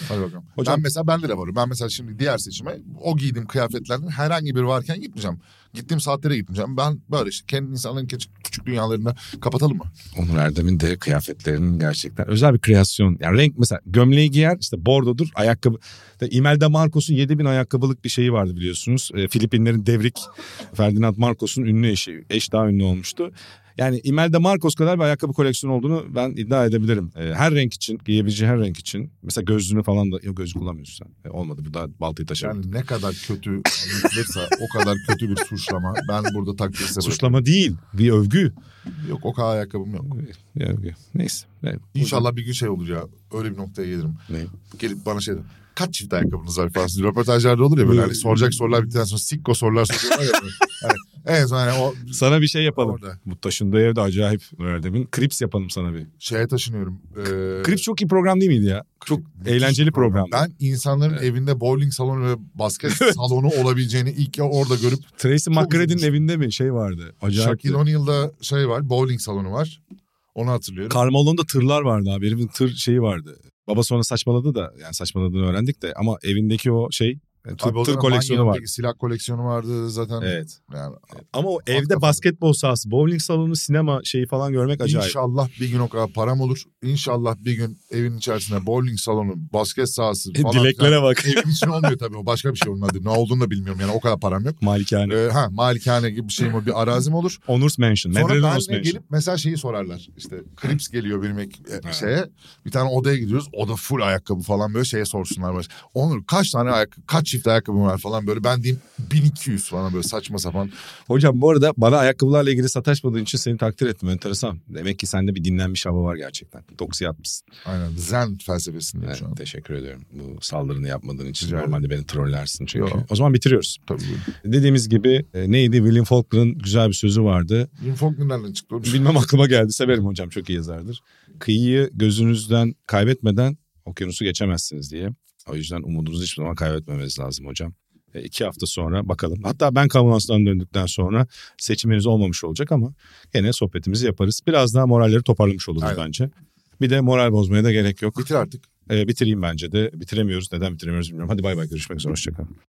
Speaker 3: Hadi bakalım.
Speaker 2: Hocam-
Speaker 3: Ben mesela bende de varım. Ben mesela şimdi diğer seçime o giydiğim kıyafetlerden herhangi biri varken gitmeyeceğim. Gittiğim saatlere gitmeyeceğim. Ben böyle işte kendi insanların küçük, küçük dünyalarını kapatalım mı?
Speaker 2: Onur Erdem'in de kıyafetlerinin gerçekten özel bir kreasyon. Yani renk mesela gömleği giyer işte bordodur ayakkabı. De Imelda Marcos'un 7000 ayakkabılık bir şeyi vardı biliyorsunuz. Ee, Filipinlerin devrik Ferdinand Marcos'un ünlü eşi. Eş daha ünlü olmuştu. Yani Imelda Marcos kadar bir ayakkabı koleksiyonu olduğunu ben iddia edebilirim. Ee, her renk için, giyebileceği her renk için. Mesela gözlüğünü falan da, yok gözlük kullanmıyorsun sen. Ee, olmadı bu da baltayı taşır.
Speaker 3: Yani ne kadar kötü anlatılırsa o kadar kötü bir suçlama. Ben burada takdir Suçlama.
Speaker 2: Suçlama değil, bir övgü.
Speaker 3: Yok o kadar ayakkabım yok.
Speaker 2: Bir övgü. Neyse. Evet.
Speaker 3: İnşallah bir gün şey olur ya. Öyle bir noktaya gelirim.
Speaker 2: Ne?
Speaker 3: Gelip bana şey der. Kaç çift ayakkabınız var falan. Şimdi Röportajlarda olur ya böyle hani soracak sorular bittikten sonra sikko sorular soruyorlar ya. böyle. Hani, evet hani o
Speaker 2: Sana bir şey yapalım.
Speaker 3: orada
Speaker 2: Bu taşındığı evde acayip Erdem'in. Krips yapalım sana bir.
Speaker 3: şeye taşınıyorum. Ee,
Speaker 2: Krips çok iyi program değil miydi ya? Çok eğlenceli program.
Speaker 3: Ben insanların
Speaker 2: Evet.
Speaker 3: evinde bowling salonu ve basket salonu olabileceğini ilk ya orada görüp
Speaker 2: Tracy McGrady'nin
Speaker 3: üzülmüştüm.
Speaker 2: evinde mi şey vardı? Acayip.
Speaker 3: Shaquille O'Neal'da şey var bowling salonu var. Onu hatırlıyorum.
Speaker 2: Karmalon'da tırlar vardı abi. Herifin tır şeyi vardı. Baba sonra saçmaladı da yani saçmaladığını öğrendik de ama evindeki o şey yani tır,
Speaker 3: Tabii o
Speaker 2: tır
Speaker 3: zaman
Speaker 2: koleksiyonu
Speaker 3: Manya'daki
Speaker 2: var.
Speaker 3: Silah koleksiyonu vardı zaten.
Speaker 2: Evet.
Speaker 3: Yani
Speaker 2: Ama o
Speaker 3: kafalı.
Speaker 2: evde basketbol sahası, bowling salonu, sinema şeyi falan görmek acayip.
Speaker 3: İnşallah bir gün o kadar param olur. İnşallah bir gün evin içerisinde bowling salonu, basket sahası falan.
Speaker 2: Dileklere E, bak. [LAUGHS]
Speaker 3: filan. [LAUGHS] Evin için olmuyor tabii o başka bir şey olmadı. Ne olduğunu da bilmiyorum yani o kadar param yok.
Speaker 2: Malikane.
Speaker 3: Ee, ha malikane gibi bir şey mi bir arazim olur.
Speaker 2: Honors Mansion.
Speaker 3: Sonra
Speaker 2: Medreli Honors
Speaker 3: benle
Speaker 2: Mansion.
Speaker 3: gelip mesela şeyi sorarlar. İşte Crips geliyor benim ek- e, şeye. Bir tane odaya gidiyoruz. Oda full ayakkabı falan böyle şeye sorsunlar. Onur kaç tane ayakkabı, kaç çift çift ayakkabım var falan böyle. Ben diyeyim 1200 falan böyle saçma sapan.
Speaker 2: Hocam bu arada bana ayakkabılarla ilgili sataşmadığın için seni takdir ettim. Enteresan. Demek ki sende bir dinlenmiş hava var gerçekten. Doksi atmışsın.
Speaker 3: Aynen zen felsefesinde
Speaker 2: Evet,
Speaker 3: şu an.
Speaker 2: teşekkür ediyorum. Bu saldırını yapmadığın için
Speaker 3: Rica ederim.
Speaker 2: normalde beni trollersin çünkü.
Speaker 3: Yo.
Speaker 2: O zaman bitiriyoruz.
Speaker 3: Tabii böyle.
Speaker 2: Dediğimiz gibi e, neydi? William Faulkner'ın güzel bir sözü vardı.
Speaker 3: Jim Faulkner nereden çıktı oğlum?
Speaker 2: Bilmem aklıma geldi. Severim hocam çok iyi yazardır. Kıyıyı gözünüzden kaybetmeden okyanusu geçemezsiniz diye. O yüzden umudunuzu hiçbir zaman kaybetmemeniz lazım hocam. E, iki hafta sonra bakalım. Hatta ben Kavanos'tan döndükten sonra seçiminiz olmamış olacak ama gene sohbetimizi yaparız. Biraz daha moralleri toparlamış oluruz
Speaker 3: Aynen.
Speaker 2: bence. Bir de moral bozmaya da gerek yok.
Speaker 3: Bitir artık.
Speaker 2: Ee, E, bitireyim bence de. Bitiremiyoruz. Neden bitiremiyoruz bilmiyorum. Hadi bay bay görüşmek üzere. Hoşçakalın.